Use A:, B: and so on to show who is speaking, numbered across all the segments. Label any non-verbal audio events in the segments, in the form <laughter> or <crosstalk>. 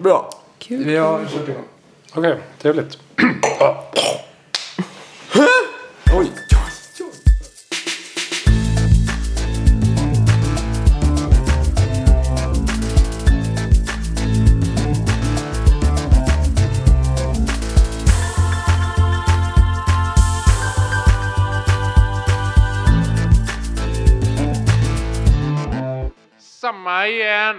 A: Bra.
B: Kul.
C: Vi har Köping.
D: Okej, trevligt.
A: Oj.
D: Samma igen.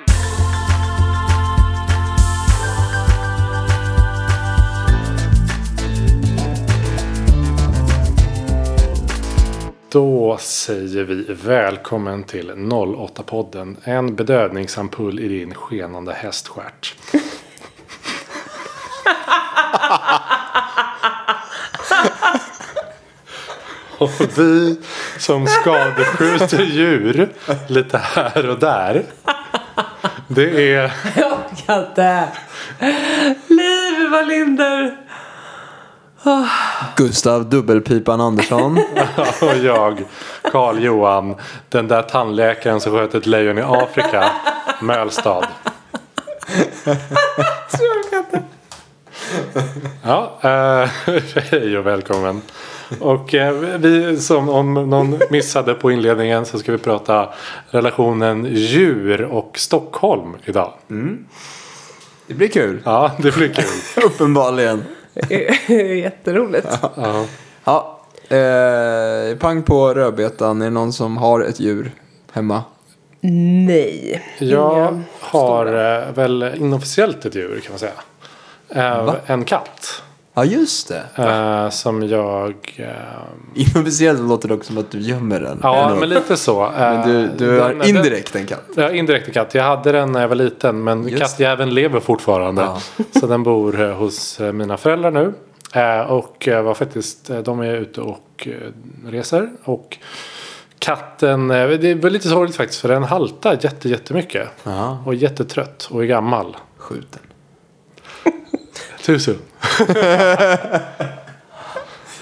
D: Då säger vi välkommen till 08-podden. En bedövningsampull i din skenande häststjärt. Och vi som skadeskjuter djur lite här och där. Det är
B: Jag orkar inte. Liv Wallinder.
A: Gustav Dubbelpipan Andersson.
D: och jag, Karl Johan, den där tandläkaren som sköt ett lejon i Afrika, Mölstad. Ja, eh, <laughs> hej och välkommen. Och eh, vi som om någon missade på inledningen så ska vi prata relationen djur och Stockholm idag.
C: Det blir kul.
D: Ja, det blir kul.
A: Uppenbarligen.
B: Jätteroligt.
D: Ja.
C: Ja. Eh, pang på rödbetan. Är det någon som har ett djur hemma?
B: Nej.
D: Jag har eh, väl inofficiellt ett djur kan man säga. Eh, En katt.
C: Ja, just det.
D: Eh, som jag... Eh,
C: Inofficiellt låter det dock som att du gömmer den.
D: ja,
C: Ändå.
D: men lite så. Eh,
C: Men du, du
D: den-
C: har indirekt en katt.
D: Den, ja, indirekt en katt. Jag hade den när jag var liten. Men
C: Just det.
D: kattjäveln lever fortfarande.
C: Ja.
D: Så den bor eh, hos eh, mina föräldrar nu. Eh, och eh, var faktiskt, eh, de är ute och eh, reser. Och katten, eh, det var lite sorgligt faktiskt. För den haltar jätte, jättemycket.
C: Ja.
D: Och är jättetrött och är gammal.
C: Skjuten. Typ
D: Too soon. <laughs>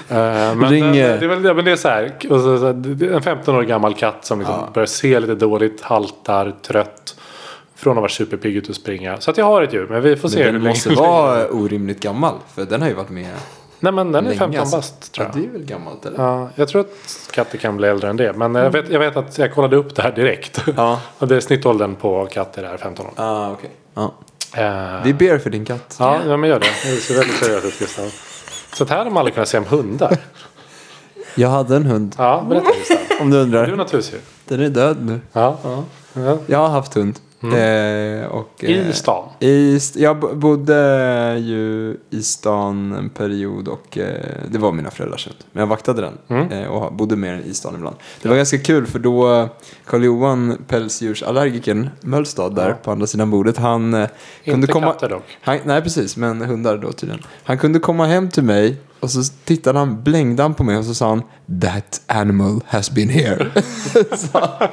D: Eh, men,
C: Ring,
D: eh,
C: eh.
D: det, är väl, ja, men det är så här. Och så, så, det är en 15 år gammal katt som liksom börjar se lite dåligt, haltar, trött. Från att vara superpigg ut och springa. Så att jag har ett djur, men vi får se
C: Men
D: hur
C: den
D: länge.
C: måste vara orimligt gammal. För den har ju varit med
D: Nej men den är
C: länge,
D: 15
C: alltså.
D: bast tror
C: Ja,
D: jag.
C: det är väl gammalt eller?
D: Ja, jag tror att katter kan bli äldre än det. Men jag vet, jag vet att jag kollade upp det här direkt.
C: Mm. Ja.
D: <laughs> och det är snittåldern på katter är 15 år.
C: Ah, okej. Ja.
D: Eh,
C: Vi ber för din katt.
D: Ja, ja, men gör det. Det ser väldigt seriöst ut Gustav. Så att här har man aldrig kunnat se om hundar.
C: Jag hade en hund.
D: Ja, berätta Gustav.
C: Om du undrar.
D: Du är naturshusdjur.
C: Den är död nu.
D: Ja. Ja.
C: Jag har haft hund. Eh, och, eh,
D: I stan.
C: i st- jag bo- bodde ju i stan en period och eh, det var mina föräldrars hund. Men jag vaktade den eh, och bodde med den i stan ibland. Det var ganska kul för då eh, Karl-Johan, pälsdjursallergikern Mölstad där på andra sidan bordet, han eh, kunde
D: Inte
C: komma...
D: katter dock.
C: Han, nej, precis. Men hundar då tydligen. Han kunde komma hem till mig och så tittade han, blängde han på mig och så sa han That animal has been here. <laughs> Så han-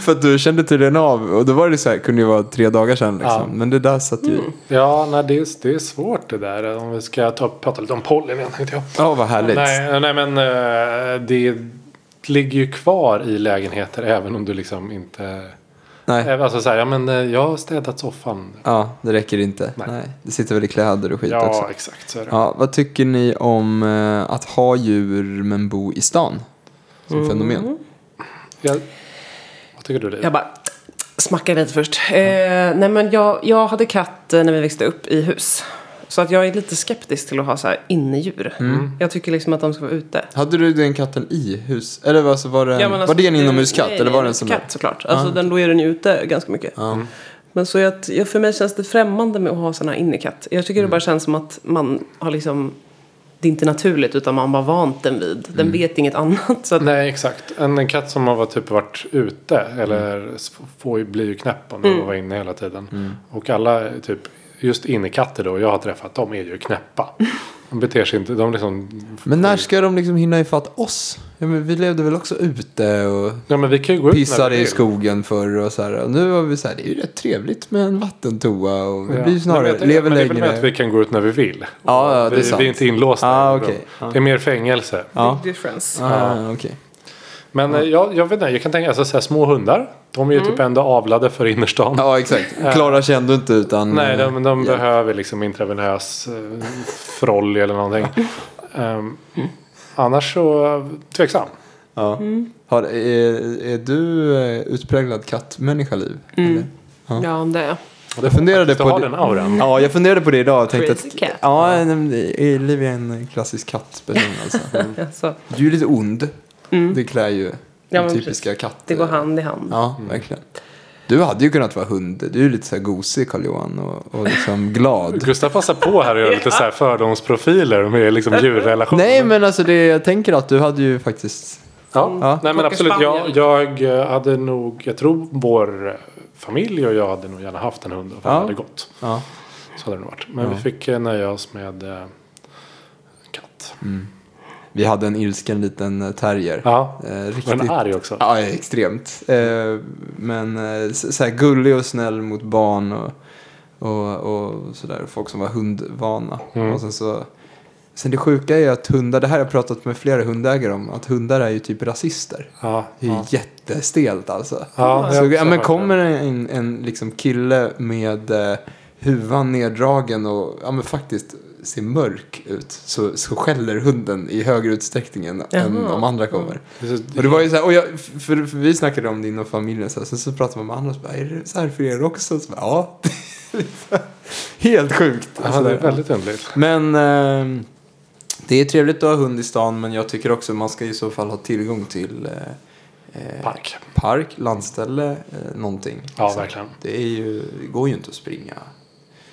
C: För att du kände tydligen av, och då var det så här, kunde ju vara tre dagar sedan liksom. Men det där satt ju,
D: Mm. Ja, nej, det, är, det är svårt det där. Om vi ska ta, prata lite om pollen igen tänkte jag.
C: ja vad härligt.
D: Nej, nej, men eh, det ligger ju kvar i lägenheter även om du liksom inte...
C: Nej.
D: Även- Alltså så här, ja men eh, jag har städat soffan.
C: Ja, det räcker inte. Nej.
D: Nej.
C: Det sitter väl i kläder och skit
D: ja,
C: också.
D: exakt så är det.
C: Ja, vad tycker ni om eh, att ha djur men bo i stan? Som
D: Mm.
C: fenomen.
D: Jag, vad tycker du Liv?
B: Jag bara smackar lite först. Eh, nej men jag, jag hade katt eh, när vi växte upp i hus. Så att jag är lite skeptisk till att ha så här innedjur. Jag tycker liksom att de ska vara ute.
C: Hade du den katten i hus? Eller alltså, var, det,
B: men
C: var
B: alltså,
C: det en
B: det-
C: inomhuskatt?
B: nej,
C: eller
B: nej,
C: var det
B: nej,
C: en som
B: Katt såklart. Alltså den, då är den ju ute ganska mycket. Men så att, ja, för mig känns det främmande med att ha sådana här innekatt. Jag tycker
C: Mm.
B: det bara känns som att man har liksom det är inte naturligt utan man har bara vant den vid. Den
C: Mm.
B: vet inget annat. Så att,
D: Nej, exakt. En, en katt som har varit- typ varit ute
C: Mm.
D: eller s- får ju, blir ju knäpp om den var inne hela tiden.
C: Mm.
D: Och alla typ, just innekatter då, jag har träffat, de är ju knäppa. De beter sig inte, de liksom...
C: Men när ska de liksom hinna ifatt oss? Ja, men vi levde väl också ute och
D: Ja men vi kan ju gå ut när
C: pissade
D: vi
C: i
D: vill.
C: skogen förr och så här. Och nu har vi så här, det är ju rätt trevligt med en vattentoa och vi
D: Ja.
C: blir ju snarare,
D: Nej, men jag-
C: lever
D: men det är väl
C: längre.
D: med att vi kan gå ut när vi vill.
C: Ja, ja, det är
D: vi,
C: sant.
D: vi är inte inlåsta.
C: Ah,
D: i rum.
C: okej. Ja.
D: Det är mer fängelse.
C: Ja.
B: Big difference.
C: Ah, okej.
D: Men eh, jag, jag vet inte, jag kan tänka alltså, så här, små hundar. De är
C: Mm.
D: ju typ ändå avlade för innerstan.
C: Ja, exakt. Klarar sig ändå inte utan...
D: Nej, de, de
C: Mm. ja.
D: behöver liksom intravenös eh, frolly eller någonting. Ehm, annars så tveksam.
C: Ja.
B: Mm.
C: Har, är, är du eh, utpräglad kattmänniska, Liv? Mm.
B: Ja, det är jag.
D: Och
C: Jag funderade
D: du
C: på
D: har
C: det-
D: den auran.
C: Ja, jag funderade på det idag och tänkte
B: Crazy
C: att...
B: cat.
C: Ja, nej, är Liv är en klassisk kattperson alltså.
B: Alltså,
C: <laughs> Du är lite ond. Det klär ju
B: Mm. Ja,
C: den
B: men
C: typiska katt...
B: det går hand i hand.
C: Ja, verkligen. Du hade ju kunnat vara hund. Du är lite så här gosig, Carl-Johan, och, och liksom <laughs> glad.
D: Gustav passar på här och gör lite så här fördomsprofiler med liksom djurrelationer.
C: Nej, men alltså det, jag tänker att du hade ju faktiskt...
D: Ja.
C: Ja.
D: Nej men
B: Plocka
D: absolut, jag,
B: spaniel.
D: jag eh, hade nog, jag tror vår eh, familj och jag hade nog gärna haft en hund om
C: Ja.
D: det hade gått.
C: Ja.
D: Så hade det nog varit. Men vi fick eh, nöja oss med eh, katt.
C: Mm. Vi hade en ilsken liten eh, terrier.
D: Ja,
C: Eh,
D: var
C: riktigt.
D: den arg också?
C: Ja, extremt. Eh, men eh, så så här gullig och snäll mot barn och, och, och sådär. Folk som var hundvana.
D: Mm.
C: Och sen så... Sen det sjuka är att hundar, det här har jag pratat med flera hundägare om, att hundar är ju typ rasister.
D: Ja,
C: Det är ju jättestelt alltså.
D: Ja, jag
C: så,
D: också
C: ja, men
D: hört
C: kommer en, en liksom kille med eh, huvan neddragen och ja, men faktiskt ser mörk ut så, så skäller hunden i högre utsträckning än,
B: Jaha.
C: än de andra kommer.
D: Det-
C: Och det var ju så här, och jag, för, för vi snackade om det inom familjen så här, sen så pratade man med andra och så bara, är det så här för er också? Så bara, ja. <laughs> Helt sjukt.
D: ja, det är väldigt underligt.
C: Men eh, det är trevligt att ha hund i stan men jag tycker också man ska i så fall ha tillgång till eh, eh,
D: Park.
C: park, landställe, eh, någonting.
D: Ja,
C: Liksom.
D: verkligen.
C: Det, är ju, det går ju inte att springa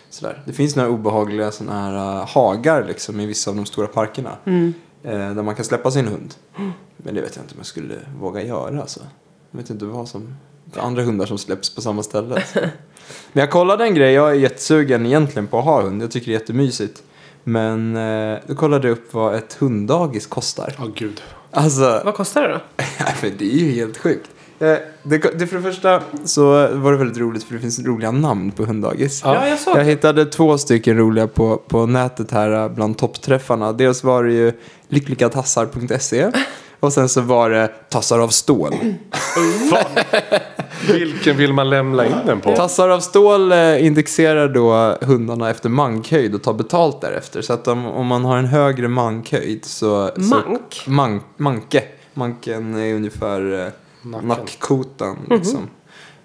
C: sådär. Det finns några obehagliga sådana här eh, hagar liksom, i vissa av de stora parkerna.
B: Mm.
C: Eh, där man kan släppa sin hund. Men det vet jag inte om jag skulle våga göra. Alltså. Jag vet inte vad som... för Andra hundar som släpps på samma ställe. alltså. Men jag kollade en grej. Jag är jättesugen egentligen på att ha hund. Jag tycker det är jättemysigt. Men eh, då kollade jag upp vad ett hunddagis kostar.
D: Ja, <laughs> gud.
C: Alltså, <laughs>
B: Vad kostar det då?
C: Nej, men det är ju helt sjukt. Eh, Det, det för det första så var det väldigt roligt för det finns roliga namn på hunddagis.
D: Ja.
B: Ja, jag såg
C: Jag
B: det.
C: hittade två stycken roliga på, på nätet här eh, bland toppträffarna. Dels var det ju lyckligatassar.se och sen så var det tassar av stål.
D: Vilken vill man lämna in den på?
C: Tassar av stål eh, indexerar då hundarna efter mankhöjd och tar betalt därefter. Så att om, om man har en högre mankhöjd så...
B: Mank?
C: Så, man, manke. Manken är ungefär eh,
D: Nacken.
C: nackkotan liksom,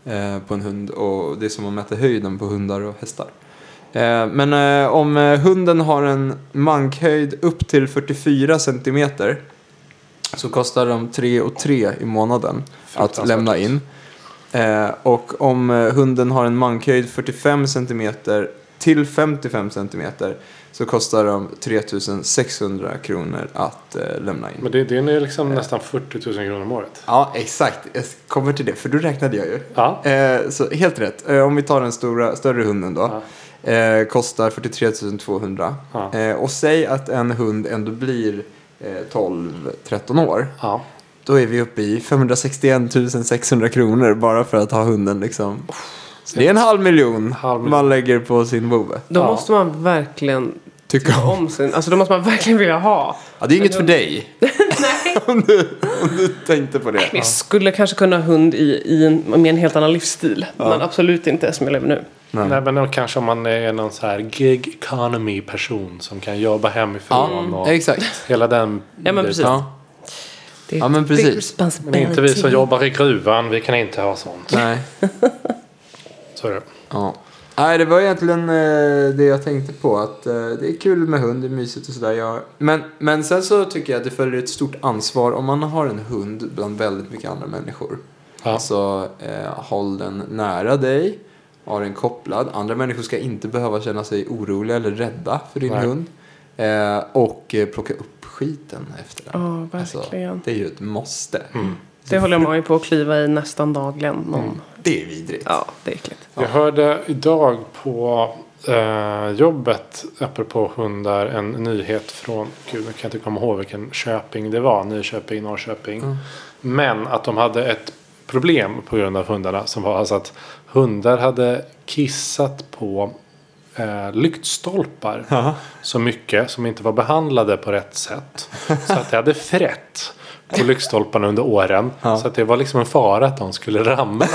C: eh, på en hund. Och det är som att mäta höjden på hundar och hästar. Eh, men eh, om eh, hunden har en mankhöjd upp till 44 centimeter så kostar de 3 och 3 i månaden att
D: Fruktansvärt.
C: lämna in. Eh, och om eh, hunden har en mankhöjd 45 cm till 55 cm så kostar de 3600 kronor att eh, lämna in.
D: Men det, det är ju liksom nästan 40 000 kronor om året.
C: Ja, exakt. Jag kommer till det, för då räknade jag ju.
D: Ja.
C: Eh, så helt rätt. Eh, om vi tar den stora, större hunden då. Eh, kostar 43 200.
D: Ja.
C: Eh, och säg att en hund ändå blir eh, 12-13 år.
D: Ja.
C: Då är vi uppe i 561 600 kronor bara för att ha hunden liksom. Så det är en halv miljon,
D: Halv miljon.
C: man lägger på sin vovve.
B: Då
D: Ja.
B: måste man verkligen
C: Tycker
B: tycka
C: om.
B: om sin... Alltså då måste man verkligen vilja ha.
C: Ja, det är inget för dig. <laughs> om, du, om du tänkte på det.
B: Vi skulle kanske kunna ha hund i, i en, med en helt annan livsstil. Men absolut inte som jag lever nu.
C: Nej.
D: Nej, men då kanske om man är någon så här gig economy person som kan jobba hemifrån
C: Ja,
D: och
C: exakt.
D: hela den
B: Ja, men precis.
C: Ja.
B: Det är
C: Ja, men
B: big
C: precis.
D: Men
B: responsibility.
D: inte vi som jobbar i gruvan, vi kan inte ha sånt.
C: Nej.
D: Så är det.
C: Ja. Nej, det var egentligen eh, det jag tänkte på. Att eh, det är kul med hund, det är mysigt och sådär. Jag... Men, men sen så tycker jag att det följer ett stort ansvar om man har en hund bland väldigt mycket andra människor.
D: Ja.
C: Så eh, håll den nära dig, ha den kopplad. Andra människor ska inte behöva känna sig oroliga eller rädda för din
D: Nej.
C: hund. Eh, och eh, plocka upp skiten efter den.
B: Ja, verkligen.
D: Alltså.
C: det är ju ett måste.
D: Mm.
B: Det håller man ju på att kliva i nästan dagligen. Någon.
C: Det är vidrigt.
B: Ja, det är äckligt.
D: Jag hörde idag på eh, jobbet, apropå hundar, en nyhet från, gud jag kan inte komma ihåg vilken köping det var, Nyköping, Norrköping. Men att de hade ett problem på grund av hundarna som var alltså att hundar hade kissat på eh, lyktstolpar så mycket som inte var behandlade på rätt sätt. Så att det hade frätt på lyktstolparna under åren.
C: Ja.
D: Så att det var liksom en fara att de skulle ramla.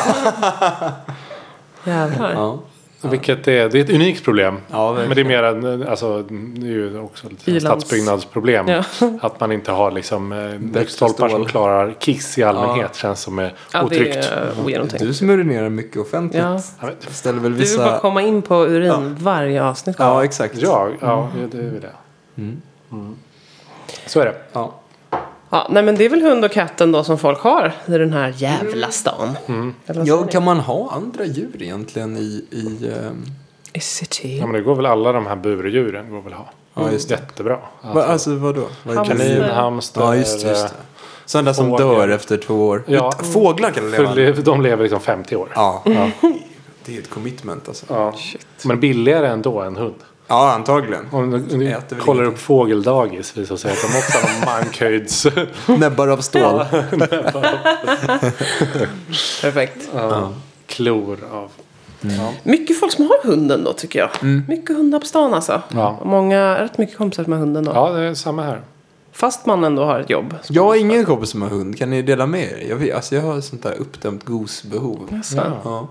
B: Jävlar.
C: Ja.
D: Vilket är, det är ett unikt problem.
C: Ja, verkligen.
D: men det är mer en, alltså, det är ju också ett
B: Ilands-
D: stadsbyggnadsproblem.
B: Ja.
D: <laughs> Att man inte har liksom eh, lyktstolpar som
C: stål.
D: klarar kiss i allmänhet. Känns som är
B: Ja, det
D: otryggt.
B: är eh, ogenomtänkt.
C: Du som urinerar mycket offentligt.
B: Ja.
D: Ja, men-
C: Ställer väl
B: Du vill bara
C: vissa...
B: komma in på urin varje avsnitt.
C: Ja, exakt.
D: Ja, ja
C: Mm.
D: det är väl det. Så är det.
C: Ja.
B: Ja, nej men det är väl hund och katten då som folk har i den här jävla stan.
D: Mm.
B: Eller vad säger
C: Ja,
B: ni?
C: kan man ha andra djur egentligen i... i ehm,
B: I city.
D: Ja, men det går väl alla de här burdjuren går väl ha.
C: Ja, just det.
D: Jättebra.
C: vad- alltså vadå? Vad
B: Hamster.
D: Kanin,
B: Hamster.
D: hamster.
C: Ja, just det. Just det. Sådana som
D: fågel.
C: dör efter två år.
D: Ja.
C: Fåglar kan
D: eh, För
C: leva.
D: le- de lever liksom 50 år.
C: Ja. Det är ett commitment alltså.
D: Ja. Men billigare ändå än hund.
C: Ja, antagligen.
D: Om du, om du
C: Äter väl
D: kollar
C: ingenting.
D: upp fågeldagis visar sig att de också
C: <laughs>
D: har mankhöjds...
C: Näbbar av stål.
B: Perfekt.
D: ja, klor av... Ja.
B: Mycket folk som har hunden då tycker jag. Mycket hundar på stan alltså.
D: Mm. Ja.
B: Många, rätt mycket kompisar som har hunden då.
D: ja, det är samma här.
B: Fast man ändå har ett jobb.
C: Jag har ingen kompis som har hund. Kan ni dela med er? Jag, vet, alltså, jag har sånt där uppdämt gosbehov.
B: Alltså.
D: Ja.
C: Ja.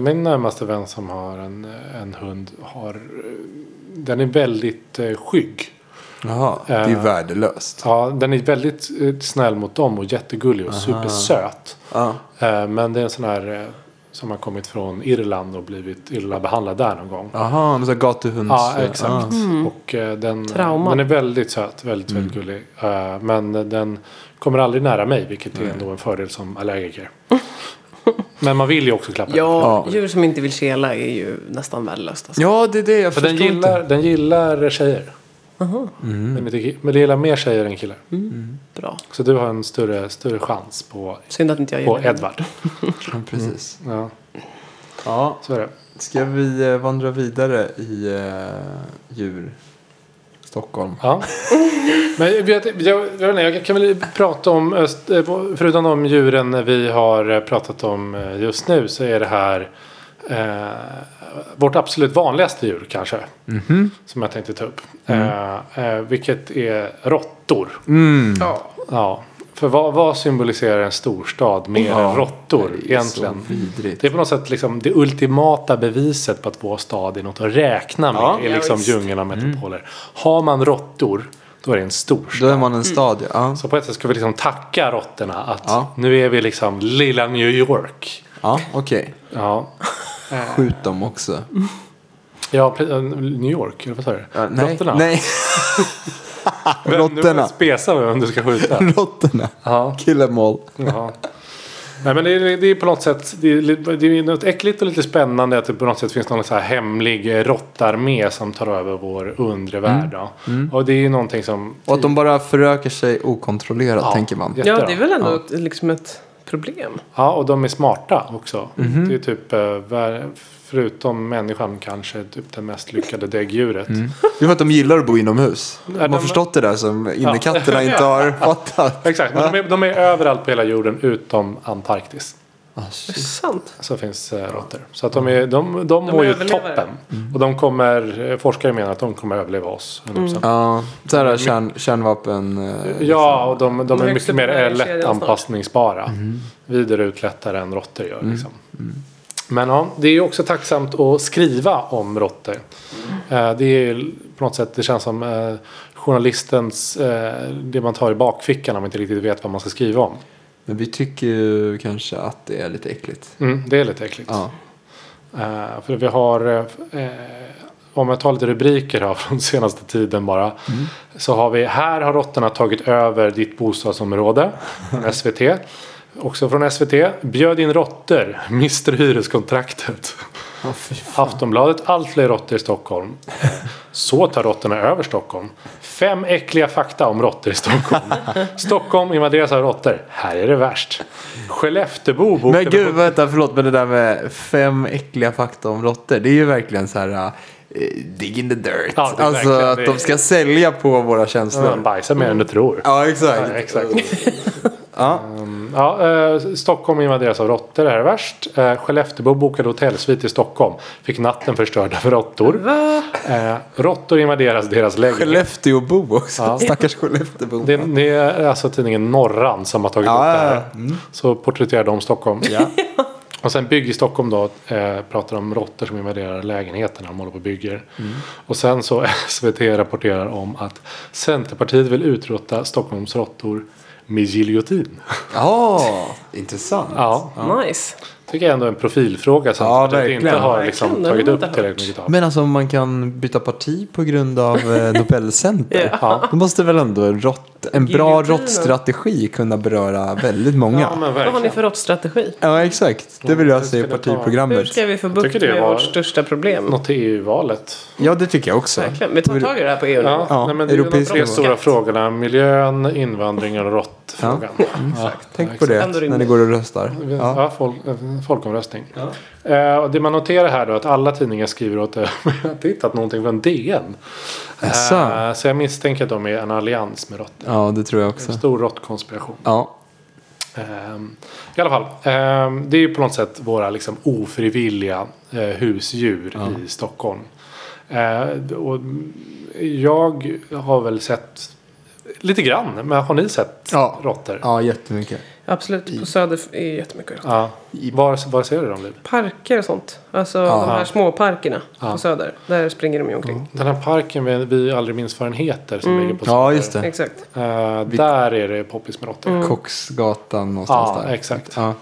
D: Min närmaste vän som har en, en hund har... eh, Den är väldigt eh, skygg.
C: Jaha, det är ju
D: Eh.
C: värdelöst.
D: Ja, den är väldigt eh, snäll mot dem och jättegullig och supersöt.
C: Ja.
D: Eh, Men det är en sån här eh, som har kommit från Irland och blivit illa behandlad där någon gång.
C: Jaha, en sån här gatuhunds...
D: Ja, exakt.
C: Ah.
D: Och eh, den,
B: Mm. Trauma.
D: den är väldigt söt, väldigt, väldigt gullig. Eh, Men den kommer aldrig nära mig, vilket är ändå en fördel som allergiker. <laughs> Men man vill ju också klappa den.
B: Ja,
C: Ja.
B: djur som inte vill kela är ju nästan värdelöst. Alltså.
C: Ja, det är det jag
D: För den
C: förstår inte.
D: gillar, den gillar tjejer. Men, inte, ki- men det gillar mer tjejer än killar.
B: Bra.
D: Så du har en större, större chans på,
B: Synd att inte jag
D: på
B: gillar det.
D: Edvard.
C: Ja, precis.
D: Ja,
C: Ja,
D: så är det.
C: ska vi eh, vandra vidare i eh, djur? Stockholm.
D: Ja. Men jag, jag, jag, vet inte, jag kan väl prata om, eh, st- eh, förutom de djuren vi har eh, pratat om eh, just nu så är det här eh, vårt absolut vanligaste djur kanske. Som jag tänkte ta upp. Eh, eh, vilket är råttor.
B: Ja.
D: Ja. För vad, vad symboliserar en storstad mer än råttor egentligen?
C: Så vidrigt.
D: Det är på något sätt liksom det ultimata beviset på att vår stad är något att räkna med
C: Ja.
D: i liksom
B: Ja, visst.
D: djungeln av metropoler. Har man råttor, då är det en stor
C: Då
D: stad.
C: är man en stad, ja.
D: Så på ett sätt ska vi liksom tacka råttorna att
C: Ja.
D: nu är vi liksom lilla New York.
C: Ja, okej.
D: Ja,
C: Skjut dem också.
D: ja pre- eh, New York, eller vad sa du?
C: Ja, nej.
D: Råttorna?
C: Nej. <laughs>
D: Vem- Nu får
C: Råttorna.
D: du spesa vem du ska skjuta.
C: <laughs> Råttorna.
D: ja.
C: Kill them all.
D: Ja. Nej, men det är, det är på något sätt det är, li- det är något äckligt och lite spännande att det på något sätt finns någon så här hemlig eh, råttarmé som tar över vår undre värld. Då. Och det är ju någonting som...
C: Och att de bara förökar sig okontrollerat,
D: Ja.
C: tänker man.
D: Ja. Mm.
B: ja, det är väl ändå ett, liksom ett problem.
D: Ja, och de är smarta också. Det är typ, eh, vär- förutom människan kanske, typ det mest lyckade däggdjuret.
C: Det är för att de gillar att bo inomhus. De har
D: de-
C: förstått det där som innekatterna <laughs> inte har fattat.
D: Exakt, men de är, de är överallt på hela jorden utom Antarktis.
B: Det är sant.
D: Så finns eh, råttor. Så att de, är, de, de, mår ju
B: överlever.
D: toppen. Och de kommer, eh, forskare menar att de kommer överleva oss. 100%.
C: Ja, så här kärn, kärnvapen... eh,
D: Ja, och de, de
B: De
D: är
B: växer
D: mycket
B: på
D: mer
B: varje
D: eh,
B: kedja
D: lätt
B: snart.
D: anpassningsbara. Vi drar ut lättare än råttor gör. Liksom. Men ja, det är ju också tacksamt att skriva om råttor. Eh, Det är ju på något sätt, det känns som eh, journalistens, eh, det man tar i bakfickan om man inte riktigt vet vad man ska skriva om.
C: Men vi tycker ju kanske att det är lite äckligt.
D: Mm, det är lite äckligt.
C: Ja.
D: Eh, för vi har, eh, f- eh, om jag tar lite rubriker här <laughs> från senaste tiden bara.
C: Mm.
D: Så har vi, här har råttorna tagit över ditt bostadsområde.
C: <laughs>
D: Från SVT. Också från SVT. Bjöd in råttor, <laughs> mister hyreskontraktet. Aftonbladet, allt fler råttor
C: <laughs>
D: i Stockholm. Eh, Så tar råttorna över Stockholm. Fem äckliga fakta om råttor
C: <laughs>
D: i Stockholm. Stockholm invaderas av råttor. Här är det värst. Skelleftebo bokade
C: Men gud,
D: hotell-
C: vänta, förlåt, men det där med fem äckliga fakta om råttor, det är ju verkligen så här eh, dig in the dirt.
D: Ja, det är
C: alltså
D: verkligen-
C: att
D: det är-
C: de ska sälja på våra
D: Ja, Man
C: känslor.
D: bajsar mer än du tror.
C: Ja, exakt.
D: Ja, exakt.
C: Ja.
D: ja, eh, Stockholm invaderas av råttor, det här är värst. Eh, Skelleftebo bokade hotellsvit i Stockholm. Fick natten förstörd av råttor.
B: Va?
D: Eh, råttor invaderas deras lägenhet.
C: Skellefteåbo också.
D: Ja.
C: Stackars Skellefteåbo.
D: Det, det är alltså tidningen Norran som har tagit upp det här. Så porträtterar de Stockholm.
C: Ja.
D: <laughs> Och sen Bygg i Stockholm då eh, pratar om råttor som invaderar lägenheterna de håller på och bygger. Och sen så <laughs> SVT rapporterar om att Centerpartiet vill utrota Stockholms råttor med giljotin.
C: Ja, intressant.
D: Ja,
B: Nice.
D: tycker jag ändå är en profilfråga som
C: Ja,
D: Centerpartiet inte
C: verkligen.
D: har liksom, tagit
B: Verkligen, den har
D: upp
B: man inte
D: tillräckligt mycket av.
C: Men alltså om man kan byta parti på grund av eh, Nobelcenter.
D: <laughs> Ja.
C: Då måste väl ändå en rått, en bra
B: Giljotinen.
C: råttstrategi kunna beröra väldigt
D: Ja,
C: många.
D: men
B: Vad har ni
D: verkligen.
B: för råttstrategi?
C: Ja, exakt. Det vill jag
D: Hur
C: se i
D: ska det ta?
B: Hur
C: partiprogrammet.
B: ska vi få bukt
D: tycker det
B: med
D: var-
B: vårt största problem?
D: Något till EU-valet.
C: Ja, det tycker jag också.
B: Verkligen. Vi tar tag i det här på E EU
D: Ja,
B: ja.
C: Ja,
D: nej, men det är ju de
C: europeisk
D: tre
C: nivå.
D: stora frågorna. Miljön, invandringen och råttfrågan. Exakt.
C: mm, Tänk på
B: Ändå
C: det
B: rimligt.
C: när ni går och röstar.
D: Ja.
C: Ja.
D: folk, folkomröstning. Eh, och det man noterar här då är att alla tidningar skriver åt <laughs> det. Men jag har inte hittat någonting från DN.
C: Jaså?
D: Eh, så jag misstänker att de är en allians med råttor.
C: ja, det tror jag också.
D: En stor råttkonspiration.
C: Ja,
D: Ehm, I alla fall, ehm, det är ju på något sätt våra liksom, ofrivilliga eh, husdjur i Stockholm. Eh, och jag har väl sett lite grann, men har ni sett
C: Ja.
D: råttor?
C: ja jättemycket.
B: Absolut. På Söder är jättemycket råttor.
D: Ja. Var, var ser du dem? Liv?
B: Parker och sånt. Alltså de här små parkerna på Söder. Där springer de ju omkring.
D: Den här parken vi, vi aldrig minns vad den heter som ligger på
C: Ja,
D: Söder.
C: just det.
B: Exakt.
D: Eh, där är det poppis med råttor.
C: Mm. Koksgatan någonstans
D: Ja,
C: där.
D: exakt.
C: Ja.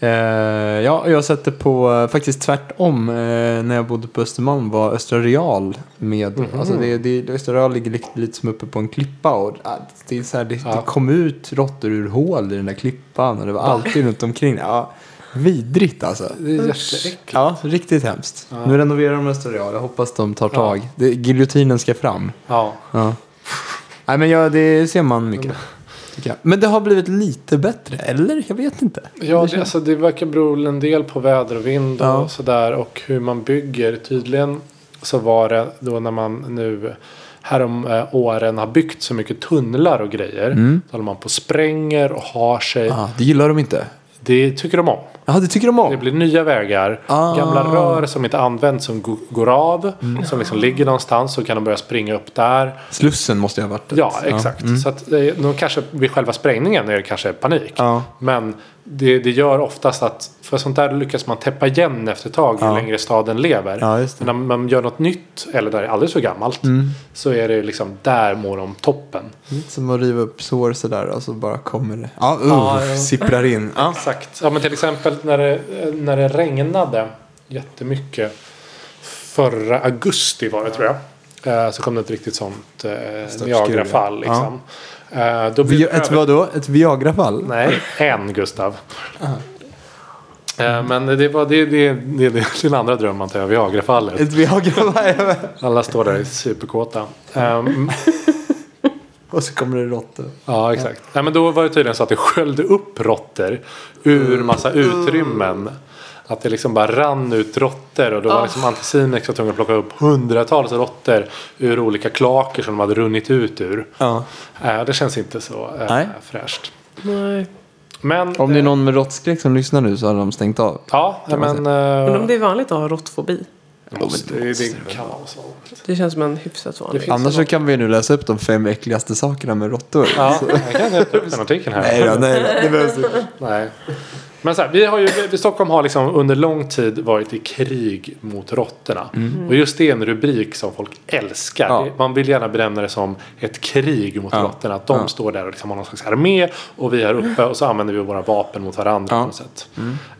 C: Eh, ja, jag sätter på eh, faktiskt tvärtom. Eh, när jag bodde på Östermalm var Östra Real med.
D: Mhm.
C: Alltså det, det, Östra Real ligger lite, lite som uppe på en klippa. Och, ah, det, är så här, det,
D: Ja.
C: det kom ut råttor ur hål i den där klippan. Och det var alltid runt omkring. Ja, vidrigt alltså.
D: Det är jätteäckligt.
C: Ja, riktigt hemskt. Nu renoverar de Östra Real. Jag hoppas de tar tag. Det, giljotinen ska fram.
D: Ja.
C: Ja. Nej, men ja, det ser man mycket. Tycker jag. Men det har blivit lite bättre, eller? Jag vet inte.
D: Ja, det, alltså, det verkar bero en del på väder och vind och
C: Ja.
D: sådär och hur man bygger. Tydligen så var det då när man nu härom eh, åren har byggt så mycket tunnlar och grejer.
C: Mm.
D: Så håller man på och spränger och har sig.
C: Ah, det gillar de inte.
D: Det tycker de om.
C: Ja, det tycker de om.
D: Det blir nya vägar.
C: Ah. Mm.
D: Gamla rör som inte används som go- går av. Som liksom ligger någonstans så kan de börja springa upp där.
C: Slussen måste ju ha varit ett.
D: Ja, exakt.
C: Mm.
D: Så att eh, de kanske, vid själva sprängningen är det kanske panik.
C: Ja.
D: Men det, det gör oftast att, för sånt där lyckas man täppa igen efter ett tag ju längre staden lever.
C: Ja, just det. Mm.
D: Men när man gör något nytt, eller där det är alldeles för gammalt, så är det liksom, där mår de toppen.
C: Lite som att riva upp sår sådär och så bara kommer det. Ja, uh, <laughs> sipprar in. Ja.
D: Exakt. Ja, men till exempel när det, eh, när det regnade jättemycket förra augusti var det tror jag. Eh, Så kom det ett riktigt sånt eh,
C: Störtskur,
D: Niagarafall.
C: ja.
D: Liksom. Eh, Då blev
C: Vi-
D: det
C: Ett
D: över-
C: vadå? Ett Viagra-fall?
D: Nej, en Gustav. Eh, Men det var det, det, det, det är din andra dröm antar jag, Viagra-fallet.
C: Ett Viagra-fall?
D: Alla står där i superkåta. Ehm,
C: <laughs> och så kommer det råttor.
D: ja, exakt. Nej, men då var det tydligen så att det sköljde upp råttor ur
C: Mm.
D: massa utrymmen. Att det liksom bara rann ut råttor och då
C: Ah.
D: var liksom Anticimex var tvungen att plocka upp hundratals råttor ur olika klaker som de hade runnit ut ur.
C: Ja.
D: Eh, Det känns inte så eh,
C: Nej.
D: fräscht.
B: Nej.
D: Men,
C: Om det är
D: eh,
C: någon med råttskräck som lyssnar nu så har de stängt av.
D: ja, nej,
C: man
D: men,
B: Men
D: eh,
B: om det är vanligt att ha råttfobi.
D: Måste, det, det kan vara så.
B: Det känns som en hyfsat vanlig.
D: finns
C: Annars så kan vi nu läsa upp de fem äckligaste sakerna med råttor.
D: Ja, jag kan hämta upp den artikeln här.
C: Nej då, nej då. Det behövs inte.
D: Nej. Men så här, vi har ju, vi- Stockholm har liksom under lång tid varit i krig mot råttorna. Och just det är en rubrik som folk älskar.
C: Mm. Ja.
D: Det- Man vill gärna benämna det som ett krig mot
C: Ja.
D: råttorna. Att de
C: Ja. Mm.
D: står där och liksom har någon slags armé och vi är uppe och så använder vi våra vapen mot varandra
C: Ja. Mm.
D: på något sätt.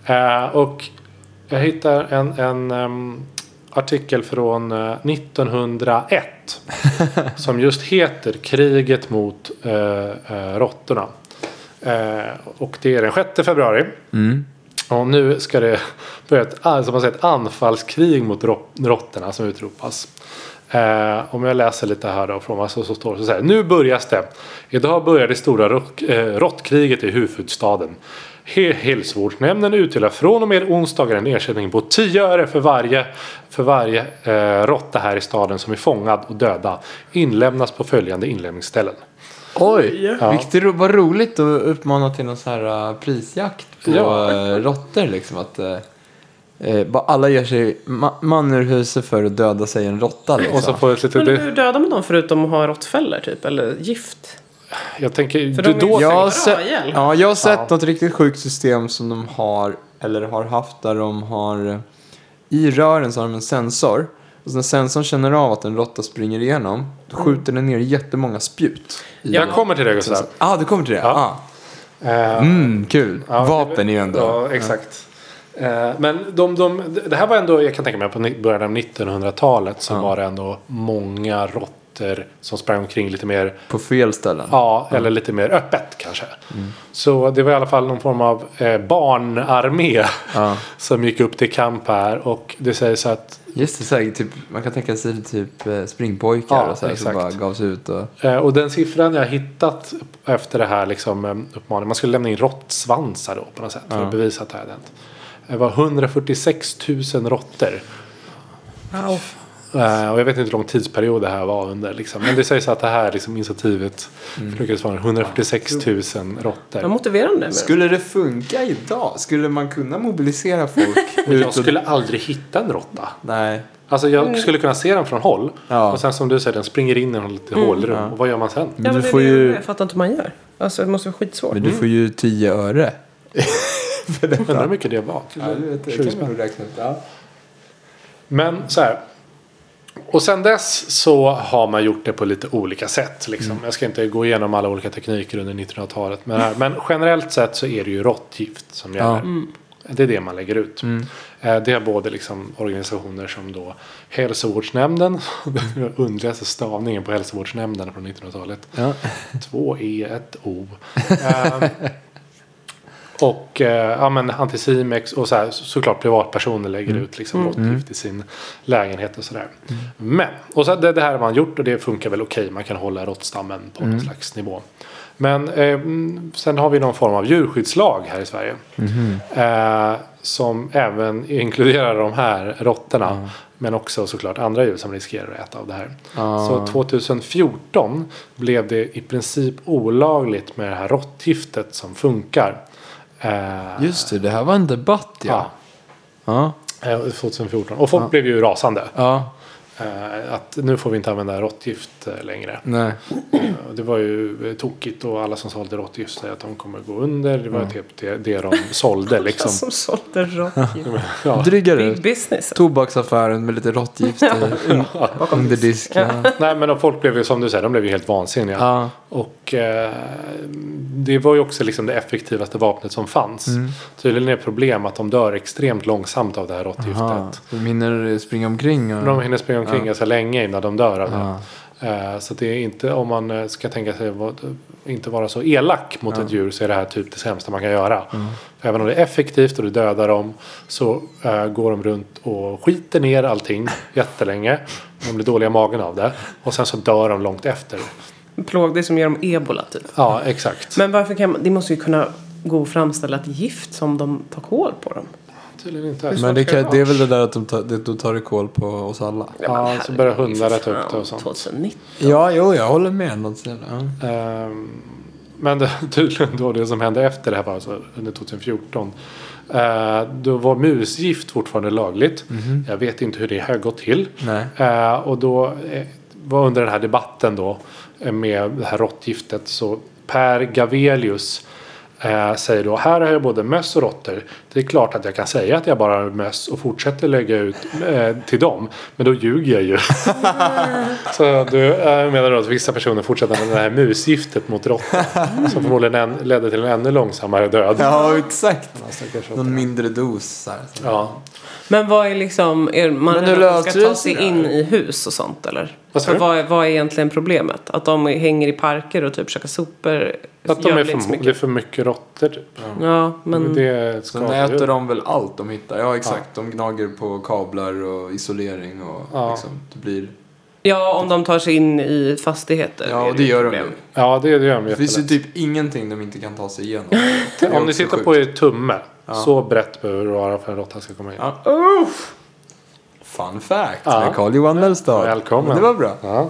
D: Eh, och jag hittar en, en ehm, artikel från eh,
C: <laughs>
D: 1901. som just heter Kriget mot eh, eh, råttorna. Eh, och det är den 6 februari. Och nu ska det börja ett, ah, som man säger, ett anfallskrig mot rå- råttorna som utropas. Eh, om jag läser lite här då från vad som så står det så här. Nu börjas det. Idag börjar det stora rock- eh, råttkriget i huvudstaden. He- Hälsovårdsnämnden utdelar från och med onsdagen en ersättning på 10 öre för varje, för varje eh, råtta här i staden som är fångad och döda. Inlämnas på följande inlämningsställen.
A: Oj!
D: Ja.
C: Vilket ro- vad roligt att uppmana till någon sån här eh, prisjakt på
D: Ja.
C: ja. råttor. Liksom, att, eh, eh, bara alla gör sig ma- man ur huset för att döda sig en råtta. Liksom.
D: Och så får jag lite...
B: Men
D: Det,
B: hur dödar man dem förutom att ha råttfällor typ? Eller gift?
D: jag tänker...
B: För
D: Du,
B: de är-
D: då,
C: jag, har
B: Bra
C: sett-
B: hjälp.
C: ja, jag har sett
D: Ja.
C: något riktigt sjukt system som de har, eller har haft, där de har eh, i rören så har de en sensor. Och så när sensorn känner av att en råtta springer igenom, då skjuter den ner jättemånga spjut. i-
D: jag kommer till det Gustav.
C: Ah, du kommer till det?
D: Ja.
C: Ah.
D: Eh,
C: Mm, kul.
D: Ja,
C: Vapen är ju ändå...
D: Ja, exakt. Eh, Men de, de, det här var ändå, jag kan tänka mig på ni- början av 1900-talet så var det ändå många råttor som sprang omkring lite mer,
C: På fel ställen.
D: ja, eller lite mer öppet kanske.
C: Mm.
D: Så det var i alla fall någon form av eh, barnarmé
C: Ja.
D: <laughs> som gick upp till kamp här och det sägs att
C: Just det, så här, typ, man kan tänka sig typ eh, springpojkar
D: Ja,
C: och så här, som
D: exakt.
C: bara gavs ut och...
D: Eh, Och den siffran jag har hittat efter det här liksom, eh, uppmaningen. Man skulle lämna in råttsvansar då på något sätt. För att bevisa att det hade hänt. Det var 146 000 råttor. Eh, Och jag vet inte hur lång tidsperiod det här var under. Liksom. Men det sägs att det här liksom, initiativet lyckades vara 146 000
B: Vad
D: råttor.
B: motiverar den det med?
C: Skulle det funka idag? Skulle man kunna mobilisera <laughs> folk?
D: Men jag skulle aldrig hitta en råtta.
C: Nej.
D: Alltså jag skulle kunna se den från håll.
C: Ja.
D: Och sen som du säger, den springer in i något litet hålrum. Och vad gör man sen?
B: Ja, men
C: du
B: det är
C: får
B: det jag
C: ju-
B: undrar. Jag fattar inte hur man gör. Alltså det måste vara skitsvårt. <laughs>
C: Men du får ju 10 öre.
D: Undrar hur mycket det var.
C: räkna ut. Ja.
D: Men så här. Och sen dess så har man gjort det på lite olika sätt. Liksom.
C: Mm.
D: Jag ska inte gå igenom alla olika tekniker under 1900-talet. Men, här, men generellt sett så är det ju råttgift som gäller.
C: Ja. Mm.
D: Det är det man lägger ut. Eh, Det är både liksom organisationer som då Hälsovårdsnämnden. <laughs> den underligaste stavningen på Hälsovårdsnämnden från 1900-talet.
C: Ja.
D: Två E, ett
C: <laughs>
D: O. Ehm, och eh, ja, men Anticimex och så här, så- såklart privatpersoner lägger ut liksom råttgift i sin lägenhet och sådär. Men, och så, det, det här har man gjort och det funkar väl okej. Man kan hålla råttstammen på någon slags nivå. Men eh, mm, sen har vi någon form av djurskyddslag här i Sverige. Eh, som även <laughs> inkluderar de här råttorna. Men också såklart andra djur som riskerar att äta av det här.
C: Ja.
D: Så 2014 blev det i princip olagligt med det här råttgiftet som funkar. Eh,
C: Just det, det här var en debatt ja.
D: ja.
C: Ja.
D: eh, 2014. Och folk blev ju rasande.
C: Ja.
D: Eh, att nu får vi inte använda råttgift eh, längre.
C: Nej.
D: Och Det var ju eh, tokigt och alla som sålde råttgift säger att de kommer gå under. Det var
C: Mm.
D: ju typ det, det de
C: <laughs>
D: sålde
B: Som,
C: Alltså.
D: liksom.
B: som sålde råttgift.
D: Ja.
C: Drygar
B: Big
C: ut.
B: business.
C: Tobaksaffären med lite råttgift <laughs> i. Under disk. Ja.
D: Nej men och folk blev ju som du säger, de blev ju helt vansinniga.
C: Ja.
D: Och eh, det var ju också liksom det effektivaste vapnet som fanns.
C: Mm.
D: Tydligen är det problem att de dör extremt långsamt av det här råttgiftet.
C: Aha. De hinner springa omkring. Och...
D: De hinner springa omkring ganska länge innan de dör av det.
C: Ja.
D: Eh, Så att det är inte, om man eh, ska tänka sig vad- inte vara så elak mot ett djur så är det här typ det sämsta man kan göra.
C: Mm.
D: För även om det är effektivt och du dödar dem så eh, går de runt och skiter ner allting <laughs> jättelänge. De blir dåliga i magen av det. Och sen så dör de långt efter.
B: Plåg, det är som gör dem ebola typ.
D: Ja, exakt.
B: Men varför kan man, det måste ju kunna gå att framställa ett gift som de tar kål på dem.
D: Tydligen inte.
C: Men det, kan, det är väl det där att de tar, det, då tar det koll på oss alla.
D: Ja, så börjar hundar äta upp det och sånt.
B: 2019.
C: Ja, jo, jag håller med. Något sådär, ja.
D: Ehm, Men det, <laughs> tydligen då det som hände efter det här var alltså under 2014. eh, Då var musgift fortfarande lagligt. Jag vet inte hur det har gått till.
C: Nej.
D: Eh, Och då eh, var under den här debatten då eh, med det här råttgiftet så Per Gavelius eh, säger då här har jag både möss och råttor. Det är klart att jag kan säga att jag bara har möss och fortsätter lägga ut eh, till dem. Men då ljuger jag ju. <laughs> Så du eh, menar då att vissa personer fortsätter med det här musgiftet mot
C: <laughs>
D: råttor. Som förmodligen en, ledde till en ännu långsammare död.
C: Ja, exakt.
D: Stackars råttor.
C: Någon mindre dos. Så här.
D: Ja.
B: Men vad är liksom, är man
C: Men hur
B: rädd att
C: löser
B: de ska ta
C: det sig
B: sig
C: där?
B: in i hus och sånt eller?
D: Vad sa
B: För
D: du?
B: vad, är, vad är egentligen problemet? Att de hänger i parker och typ käkar sopor?
D: Att de
B: gör
D: är
B: väl inte så
D: för, det är
B: mycket.
D: för mycket råttor. Typ.
B: Ja, men
D: Det är ett
C: Så nu äter
D: skadedjur.
C: de väl allt de hittar. Ja, exakt. De gnager på kablar och isolering och
D: Ja.
C: liksom, det blir...
B: ja, om de tar sig in i fastigheter.
C: Ja,
B: är
C: och det
B: ju
C: gör de
B: problem.
C: ju.
D: Ja, det gör de
C: Det finns ju
D: jättelätt.
C: typ ingenting de inte kan ta sig igenom. Det är
D: <laughs> Om ni
C: också
D: sitter
C: sjukt.
D: på er tumme. Så brett behöver det vara för en råtta ska komma in.
C: Ja. Fun fact
D: Ja.
C: med Carl-Johan Mellstad.
D: Välkommen.
C: Det var bra.
D: Ja.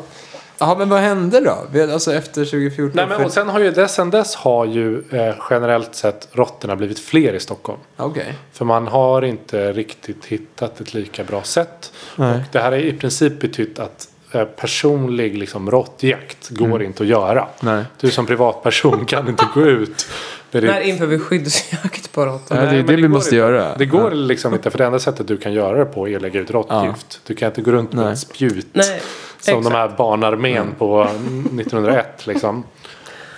C: Ja, men vad hände då? Vi- Alltså efter 2014?
D: Nej, men,
C: för-
D: och sen har ju det- sen dess har ju eh, generellt sett råttorna blivit fler i Stockholm.
C: Okej.
D: För man har inte riktigt hittat ett lika bra sätt.
C: Nej.
D: Det här har i princip betytt att eh, personlig liksom, råttjakt går inte att göra.
C: Mm. Nej.
D: Du som privatperson kan inte gå ut. Med
B: När
D: ditt...
B: inför vi skyddsjakt på råttor?
C: Ja, det är
D: Nej,
C: det,
D: men det
C: vi
D: går
C: måste
D: inte.
C: göra.
D: Det går liksom inte, för det enda sättet du kan göra det på är att lägga ut råttgift. Du kan inte gå runt med
C: Nej. Mm.
D: ett spjut.
B: Nej,
D: Som
B: exakt.
D: de här barnarmén på 1901 liksom.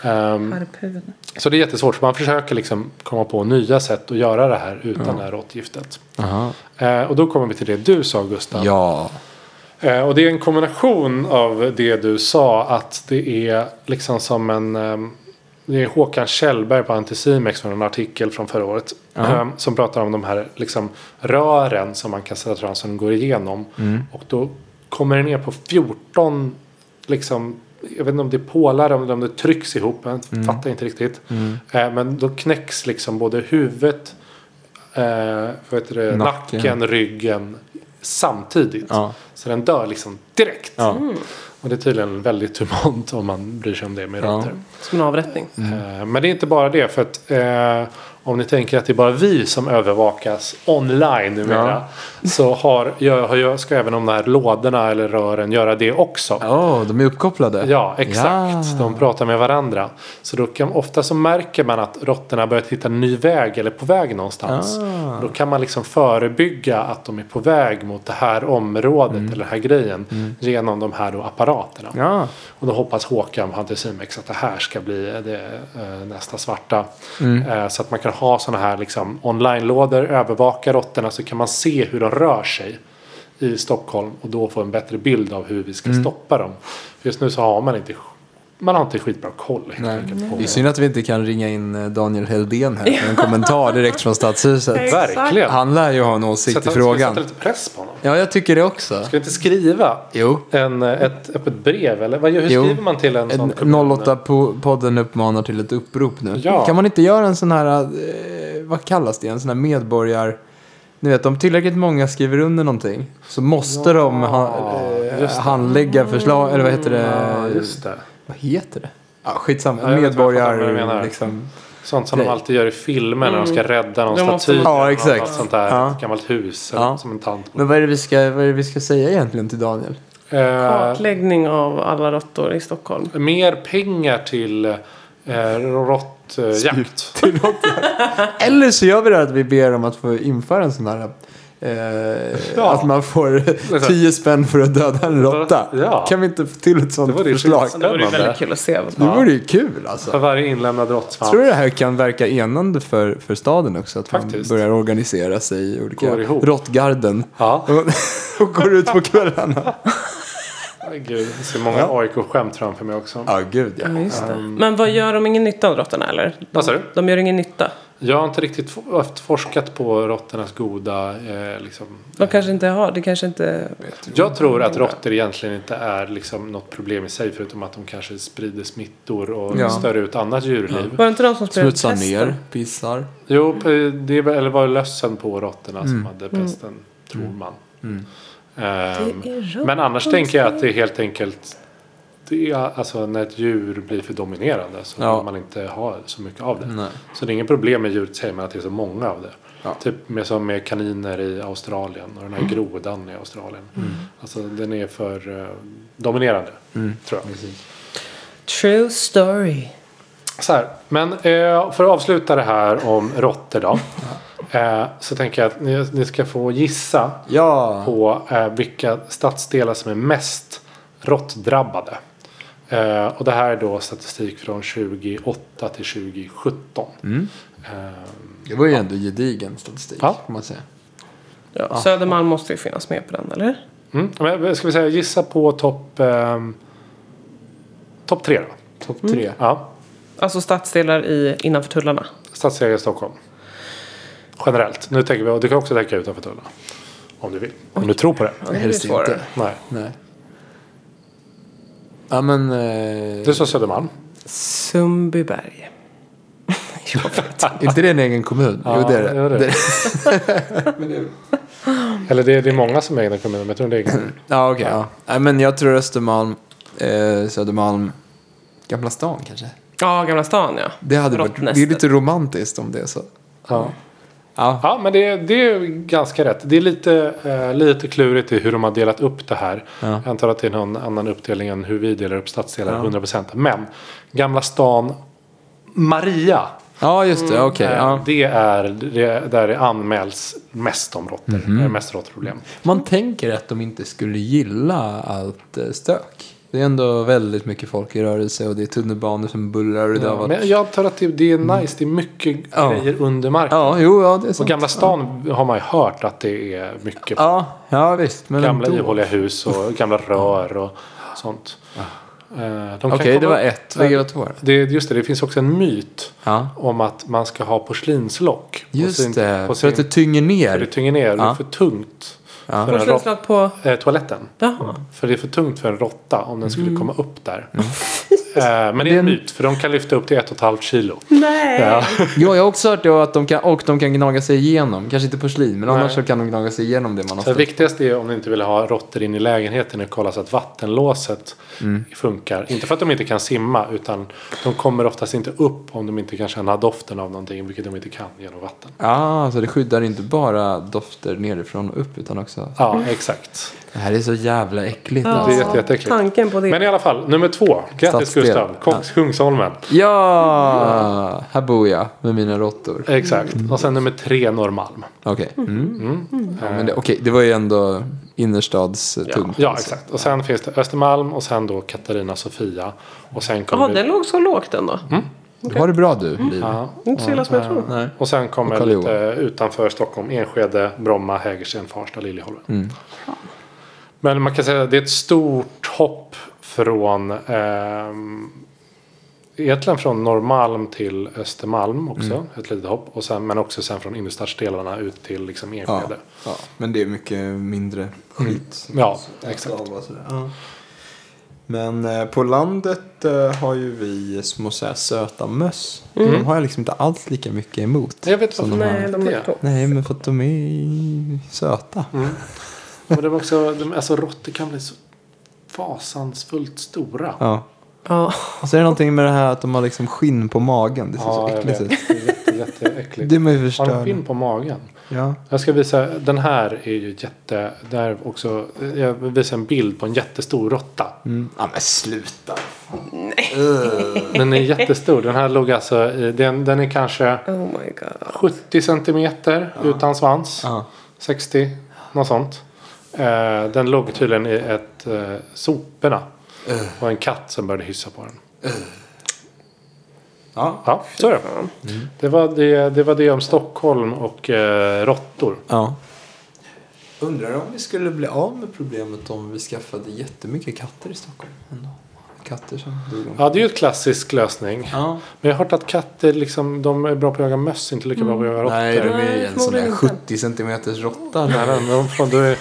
D: Ehm,
B: Harpun.
D: så det är jättesvårt. För man försöker liksom komma på nya sätt att göra det här utan det här råttgiftet.
C: Aha.
D: Eh, och då kommer vi till det du sa Gustav.
C: Ja.
D: Eh, och det är en kombination av det du sa. Att det är liksom som en... ehm, det är Håkan Kjellberg på Anticimex från en artikel från förra året. ehm, som pratar om de här liksom, rören som man kan sätta fram som går igenom. Och då kommer det ner på 14 liksom, jag vet inte om det är pålar eller om det trycks ihop. Jag fattar inte riktigt. Eh, men då knäcks liksom både huvudet, eh, vad heter det,
C: Nacken.
D: nacken. ryggen samtidigt.
C: Ja.
D: Så den dör liksom direkt.
C: Ja.
D: Och det är tydligen väldigt humant om man bryr sig om det med
C: Ja. Mm.
D: råttor.
B: Som en avrättning.
D: Eh, Men det är inte bara det. För att eh, om ni tänker att det är bara vi som övervakas online numera. Så har, gör, gör, ska även de här lådorna eller rören göra det också.
C: Åh, de är uppkopplade.
D: Ja, exakt.
C: Ja.
D: De pratar med varandra. Så då kan, ofta så märker man att råttorna börjar hitta en ny väg eller på väg någonstans.
C: Ah.
D: Då kan man liksom förebygga att de är på väg mot det här området
C: Mm.
D: eller den här grejen genom de här då apparaterna.
C: Ja.
D: Och då hoppas Håkan på Anticimex att det här ska bli det, eh, nästa svarta.
C: Mm.
D: Eh, så att man kan ha sådana här liksom, online-lådor, övervaka råttorna så kan man se hur de rör sig i Stockholm och då få en bättre bild av hur vi ska
C: Mm.
D: stoppa dem. För just nu så har man inte, man har inte skitbra koll helt
C: Nej.
D: enkelt. På
C: Det är synd att vi inte kan ringa in eh, Daniel Heldén här för en kommentar direkt från Stadshuset.
D: Verkligen.
C: Han lär ju ha en åsikt i
D: Sätta,
C: frågan.
D: sätta lite press på honom.
C: Ja, jag tycker det också.
D: Ska vi inte skriva
C: Jo.
D: en, eh, ett öppet brev? Eller vad, gör- hur
C: Jo.
D: skriver man till en, sån
C: En-
D: kommun?
C: 08-podden uppmanar till ett upprop nu.
D: Ja.
C: Kan man inte göra en sån här, eh, vad kallas det, en sån här medborgar... Ni vet, om tillräckligt många skriver under någonting så måste de ha, eh,
D: just det.
C: handlägga förslag, eller vad heter det?
D: Ja, just det.
C: Vad heter det? Ja, skitsamma,
D: Ja, jag vet vad- jag fattar vad du
C: medborgar...
D: menar.
C: Liksom.
D: Sånt som de
C: Nej.
D: alltid gör i filmer när de ska rädda någon
B: Mm. De måste-
D: staty.
C: Ja,
D: eller något
C: exakt.
D: Sånt där
C: Ja.
D: gammalt hus. eller
C: Ja.
D: Som en tant.
C: Men vad är, det vi ska, vad är det vi ska säga egentligen till Daniel?
D: Eh,
B: Kartläggning av alla råttor i Stockholm.
D: mer pengar till eh, råttjakt.
C: Eller så gör vi det här att vi ber om att få införa en sån här... Eh,
D: Ja.
C: Att man får 10 spänn för att döda en råtta.
D: Ja.
C: Kan vi inte få till ett sånt
D: Det vore ju
C: förslag?
D: skitspännande.
B: Det vore ju väldigt kul att se.
C: Det vore ju kul alltså.
D: För varje inlämnad råttsvamp.
C: Tror du det här kan verka enande för, för staden också? Att
D: Faktiskt.
C: man börjar organisera sig i olika
D: Går ihop.
C: råttgarden.
D: Ja.
C: Och- <laughs> Och går ut på kvällarna.
D: Gud, jag ser många AIK-skämt framför mig också.
C: Ja, gud ja.
B: Ja, just det. Men vad gör de ingen nytta av råttorna eller? De,
D: Vad sa du?
B: de gör ingen nytta.
D: Jag har inte riktigt f- forskat på råttornas goda... Eh, liksom.
B: De kanske inte har, det kanske inte...
D: Jag tror att råttor egentligen inte är liksom, något problem i sig. Förutom att de kanske sprider smittor och
C: Ja.
D: stör ut annat djurliv.
B: Var det inte de som spelade
C: Smutsar
B: testen?
C: ner, pissar.
D: Jo, p- det var- eller var det lössen på råttorna
C: Mm.
D: som hade pesten, tror man. Ehm,
B: Det är råttor
D: men annars tänker jag att det är helt enkelt det är, alltså, när ett djur blir för dominerande så
C: Ja.
D: vill man inte ha så mycket av det.
C: Nej.
D: Så det är inget problem med djuret säger man att det är så många av det.
C: Ja. Mm.
D: Typ med, som med kaniner i Australien och den här grodan i Australien. Alltså den är för eh, dominerande,
C: Mm.
D: tror jag.
B: True story.
D: Så här, men eh, för att avsluta det här om råttor då. eh, så tänker jag att ni, ni ska få gissa
C: Ja.
D: på eh, vilka stadsdelar som är mest råttdrabbade. Eh, och det här är då statistik från 2008 till 2017. Eh,
C: Det var ju ändå gedigen statistik.
D: Ja.
C: Kan man säga.
B: Ja, Södermalm måste ju finnas med på den, eller?
D: mm. Men Ska vi säga gissa på topp eh, top tre då? Mm.
C: Topp tre.
D: Ja,
B: Alltså stadsdelar i, innanför tullarna.
D: stadsdelar i Stockholm. Generellt. Nu tänker vi, och du kan också tänka utanför tullarna. Om du vill. Om du tror på det.
B: Ja, det blir
C: Helst
B: svårare.
C: inte.
D: Nej.
C: Nej. Ja men... Eh,
D: Du sa Södermalm.
B: Sundbyberg.
C: eh, är inte det en egen kommun? jo det är det.
D: det är
C: <laughs>
D: det. Eller det är, det är många som är egna kommuner, men jag tror det är egna.
C: Ja okej. Ja. Nej men jag tror Östermalm. eh, Södermalm, Gamla stan kanske?
B: Ja, Gamla stan ja.
C: Det hade varit, det är
B: Rottnästet.
C: lite romantiskt om det är så.
D: Ja.
C: Ja,
D: Ja, men det, det är ganska rätt. Det är lite, eh, lite klurigt i hur de har delat upp det här. Jag antar att det är någon annan uppdelning än hur vi delar upp stadsdelar 100%. Men Gamla stan Maria.
C: ja just det, okej.
D: eh,
C: ja.
D: Det är det, där det anmäls mest om råttor.
C: Mhm.
D: Det är mest råttproblem.
C: Man tänker att de inte skulle gilla allt eh, stök. Det är ändå väldigt mycket folk i rörelse och det är tunnelbanor som bullrar och det har varit...
D: Men jag antar att det, det är nice. Det är mycket
C: Ja.
D: grejer under marken.
C: Ja, jo, ja, det är
D: Och
C: sant.
D: Gamla stan har man ju hört att det är mycket
C: Ja, ja visst. Men
D: Gamla
C: ändå.
D: ihåliga
C: <laughs>
D: hus och gamla rör och sånt. Eh, de kan
C: Ah. Okej, det
D: komma-
C: var ett. Vilket var två?
D: Det, just det, det finns också en myt
C: Ja.
D: om att man ska ha porslinslock. på
C: Just
D: sin-
C: det,
D: på
C: för
D: sin,
C: att det tynger
D: för det
C: ner.
D: tynger ner. Det
C: Ja.
D: är för tungt för en råtta.
B: Porslinslock på...
D: Eh, toaletten.
B: Jaha.
D: För det är för tungt för en råtta om den skulle
C: Mm.
D: komma upp där. eh, men det är en myt, för de kan lyfta upp till ett och ett halvt kilo.
B: Nej!
D: Ja.
C: Jo, jag har också hört det att de kan, och de kan gnaga sig igenom. Kanske inte porslin, men annars
D: Nej.
C: så kan de gnaga sig igenom det man har
D: Så det
C: ställt.
D: viktigaste är om ni inte vill ha råttor in i lägenheten och kolla så att vattenlåset funkar. Inte för att de inte kan simma utan de kommer oftast inte upp om de inte kan känna doften av någonting vilket de inte kan genom vatten.
C: Ja, Ah, så det skyddar inte bara dofter nerifrån och upp utan också...
D: Ja, exakt.
C: Det här är så jävla äckligt
D: Det är
C: alltså.
D: jätte, jätteäckligt.
B: Tanken på det.
D: Men i alla fall, nummer två. Grattis
C: Stadsdel.
D: Gustav. Kung- Kungsholmen.
C: Ja! Här bor jag med mina råttor.
D: Exakt. Och sen nummer tre, Norrmalm.
C: Okej. Mm. Ja, men det, okej, det var ju ändå innerstadstungt.
D: Ja, exakt. Och sen finns det Östermalm och sen då Katarina Sofia. Och sen kommer...
B: Jaha, den låg så lågt ändå.
C: Du har det bra du, Liv.
D: Mm. Ja.
B: Inte så illa som jag tror.
C: Mm. Nej.
D: Och sen kommer
C: Och Karl
D: lite utanför Stockholm. Enskede, Bromma, Hägersten, Farsta, Liljeholmen.
C: Mm.
D: Men man kan säga att det är ett stort hopp från ehm, egentligen från Norrmalm till Östermalm också.
C: Mm.
D: Ett litet hopp. Och sen, men också sen från innerstadsdelarna ut till liksom
C: Ja,
D: Enskede.
C: ja, men det är mycket mindre skit.
D: Mm. Ja,
C: som
D: exakt.
C: äts av och sådär. Ja. Men eh, på landet eh, har ju vi små så här söta möss.
D: Mm.
C: De har jag liksom inte alls lika mycket emot.
D: Jag vet varför.
C: de här.
B: Nej, de låg på.
C: Nej, men för att de är söta.
D: Men de är också, de, alltså råttor kan bli så fasansfullt stora.
C: Ja.
B: Ja.
C: Och så är det någonting med det här att de har liksom skinn på magen. Det ser så
D: jag
C: äckligt
D: vet.
C: ut.
D: Det är jätte, jätteäckligt.
C: Det är man ju
D: Har de skinn
C: förstörd.
D: på magen?
C: Ja.
D: Jag ska visa, den här är ju jätte, där också, jag visar en bild på en jättestor råtta.
C: Mm. ja, men sluta.
D: Den är jättestor, den här låg alltså, i, den, den är kanske
B: Oh my god.
D: 70 centimeter utan svans.
C: Ja.
D: 60, något sånt. Eh, den låg tydligen i ett eh, soporna.
C: Eh.
D: Och en katt som började hyssa på den.
C: Ja.
D: Ja, så är det. Det, var det. Det var det om Stockholm och eh, råttor.
C: ja. Undrar om vi skulle bli av med problemet om vi skaffade jättemycket katter i Stockholm. Ändå. Katter som dog om.
D: Ja, det är ju en klassisk lösning.
C: Ja.
D: Men jag har hört att katter liksom, de är bra på att jaga möss, inte lika bra på att jaga råttor.
C: Mm. Nej, de är ju
B: Nej,
C: en sån där
B: förmodligen
C: 70 centimeters råtta.
D: Nej,
C: Där.
D: men de får, då är,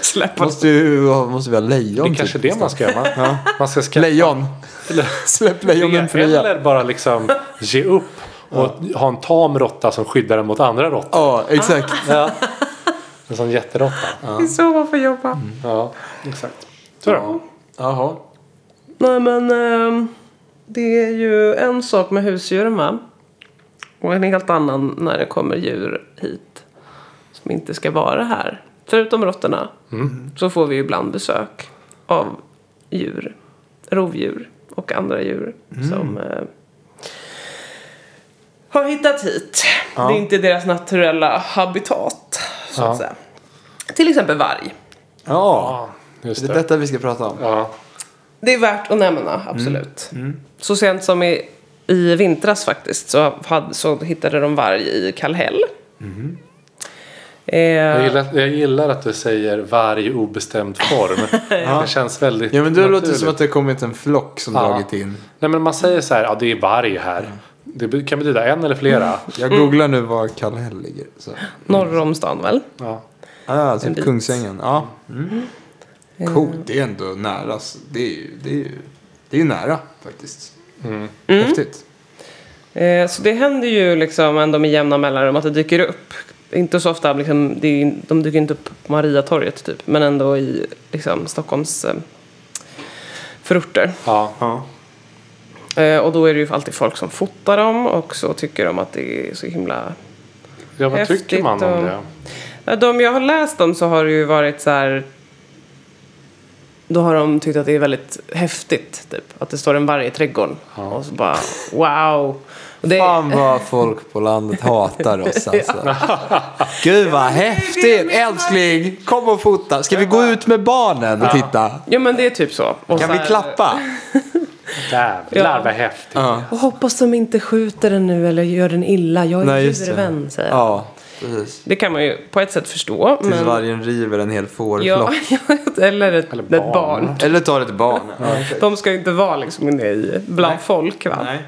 B: Släpp <laughs> oss.
C: Måste, ju, ha- måste vi ha lejon? typ,
D: det är kanske det man ska göra. Man, man ska skaffa
C: Lejon! <laughs> Släpp lejonen
D: det,
C: fria.
D: eller bara liksom ge upp och ha en tam råtta som skyddar den mot andra råttor.
C: Ja, exakt.
B: Ah.
D: Ja. En sån jätteråtta.
B: Det är så man får jobba.
D: Ja, exakt. Så då.
C: Jaha.
B: Nej men ehm, det är ju en sak med husdjuren va? Och en helt annan när det kommer djur hit. Som inte ska vara här. Förutom råttorna. Så får vi ju ibland besök av djur. Rovdjur och andra djur. Som eh, har hittat hit. Det är inte deras naturella habitat. Så att
D: Ja.
B: säga. Till exempel varg.
C: Ja,
D: Ja, just
C: det är
D: det.
C: detta vi ska prata om.
D: Ja.
B: Det är värt att nämna,
D: Mm.
B: absolut. Så sent som i, i vintras faktiskt så, hade, så hittade de varg i Kallhäll.
D: Mm-hmm. Jag,
B: Eh,
D: gillar, jag gillar att du säger varg i obestämd
C: <laughs>
D: form. Det känns väldigt
C: Ja, men det låter
D: naturligt.
C: som att det har kommit en flock som
D: Ja.
C: dragit in.
D: Nej men man säger så här, ja det är varg här. Det be- kan betyda en eller flera.
C: Jag googlar nu var Kallhäll ligger. Så.
B: norr om stan väl?
D: Ja.
C: Ah,
B: En
C: typ
B: bit. Eh.
C: Kungsängen. Ja. Mm. Coolt, det är ändå nära. alltså. Det är ju, det är ju, det är ju nära faktiskt. Mm.
B: Mm.
C: Häftigt.
B: Eh, så det händer ju liksom ändå med jämna mellanrum att det dyker upp. Inte så ofta, liksom, det är, de dyker inte upp på Mariatorget typ. Men ändå i liksom, Stockholms eh, förorter.
D: Ja.
E: Ja.
B: Eh, och då är det ju alltid folk som fotar dem och så tycker de att det är så himla
D: ja, vad
B: Häftigt
D: tycker man
B: och-
D: om det?
B: Ja, De jag har läst om så har det ju varit så här... Då har de tyckt att det är väldigt häftigt, typ. Att det står en varg i trädgården. Och så bara, wow. Och det,
C: Fan vad folk på landet hatar
B: <laughs>
C: oss alltså. Gud vad häftigt! Älskling, kom och fota. Ska vi gå ut med barnen och titta?
B: ja, men det är typ så. Och
C: Kan vi
B: så här- eh,
C: klappa?
D: Jävlar
B: Ja.
D: vad häftigt.
B: Och hoppas de inte skjuter den nu eller gör den illa. Jag är
C: Nej,
B: Nej,
C: just det.
B: djurvän, säger jag.
C: Ja, precis.
B: Det kan man ju på ett sätt förstå.
C: Tills
B: Men,
C: vargen river en hel
B: ja, <laughs>
C: fårflock.
B: eller ett,
D: Eller
B: ett
D: barn.
B: barn.
C: Eller tar ett barn.
B: De ska ju inte vara liksom inne i, bland folk, va?
C: Nej.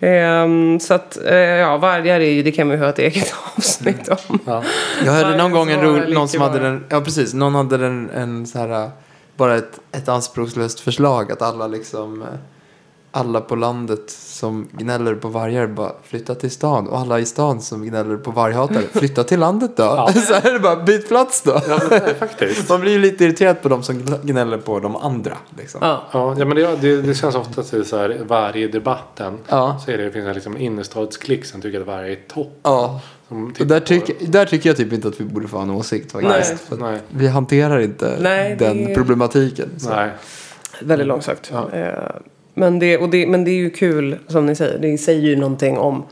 B: Ehm, så att, eh, ja, vargar är ju, det kan man ju ha ett eget <laughs> avsnitt
C: Mm.
B: om.
D: Ja.
C: Jag hörde någon
B: Vargens
C: gång en
B: vara
C: rolig,
B: eller
C: någon
B: icke
C: som hade
B: vara.
C: den, ja precis, någon hade den, en så här, äh, bara ett, ett anspråkslöst förslag att alla liksom, äh, alla på landet som gnäller på vargar bara flytta till stan och alla i stan som gnäller på
D: <laughs>
C: varghatare, flytta till landet då. <laughs> Så här är det bara, byt plats då.
D: Ja, men, faktiskt.
C: Man blir ju lite irriterad på de som gn- gnäller på de andra liksom.
B: Ja.
D: Ja, ja, men det, det, det känns ofta till så här varje debatten.
C: Ja.
D: Så är det, det finns en liksom innerstadsklick som tycker att varje är topp.
C: Ja.
D: Som
C: Och
D: tittar
C: där,
D: på
C: tycker-
D: det.
C: där tycker jag typ inte att vi borde få ha en åsikt faktiskt.
B: Nej.
C: För att
D: Nej.
C: Vi hanterar inte
B: Nej, det
C: den
B: är-
C: problematiken. Så.
D: Nej.
B: Väldigt långsökt. Eh, Men, det, och det, men det är ju kul, som ni säger. Det säger ju någonting om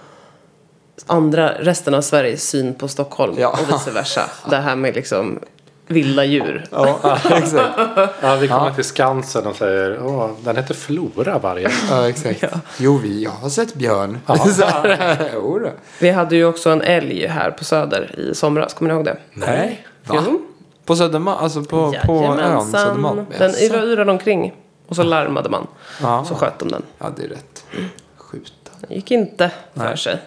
B: andra, resten av Sveriges syn på Stockholm
C: Ja.
B: och vice versa. Det här med liksom vilda djur.
C: Ja, <laughs> exakt.
D: Ja, vi kommer till Skansen och säger Åh, den heter Flora varje.
C: Ja, exakt. Jo, vi, jag har sett björn. <laughs> Ja. jo då.
B: Vi hade ju också en älg här på Söder i somras, kommer ni ihåg det?
C: Nej. Va?
B: Jo.
C: På Södermalm? Alltså på, på ön Södermalm?
B: Jajamensan. Den
C: Jaså?
B: yrade omkring och så larmade man.
C: Ja.
B: Så sköt de den.
C: Ja, det är rätt. Skjuta.
B: Det gick inte för sig.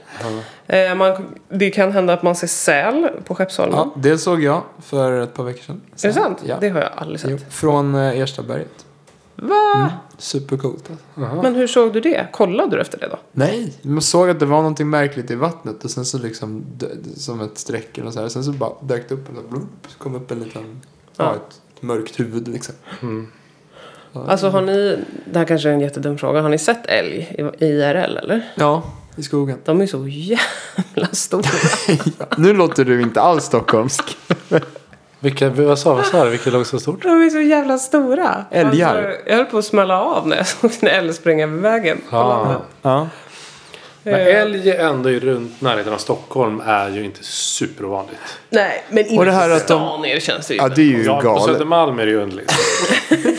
B: Eh, man, det kan hända att man ser säl på Skeppsholmen.
C: Ja, det såg jag för ett par veckor sedan.
B: Är det sant?
C: Ja.
B: Det har jag aldrig sett.
C: Jo, Från eh, Erstaberget. Mm.
B: Va?
C: Supercoolt alltså.
B: Men hur såg du det? Kollade du efter det då?
C: Nej, man såg att det var någonting märkligt i vattnet och sen så liksom dö- som ett streck eller så här. Sen så bara dök det upp en så här, blump, så kom upp en liten, ja,
B: Ja.
C: ett, ett mörkt huvud liksom.
B: Alltså har ni, det här kanske är en jättedum fråga, har ni sett älg i IRL eller?
C: Ja, i skogen.
B: De är så jävla
C: <laughs>
B: stora.
C: ja. Nu låter du inte alls stockholmsk.
D: Vilka, vad sa vad sa du? Vilket låg så stort?
B: De är så jävla stora.
C: Älgar.
B: Alltså, jag höll på att smälla av när jag <laughs> såg en älg springa över vägen. Eh,
D: Ja.
C: Ja.
D: Men älg ändå i runt närheten av Stockholm är ju inte superovanligt.
B: Nej, men inte
C: Och det här
B: i
C: att de-
B: stan er känns det ju.
C: Ja, det är ju
D: Ja, på
C: galet.
D: Södermalm är det ju underligt.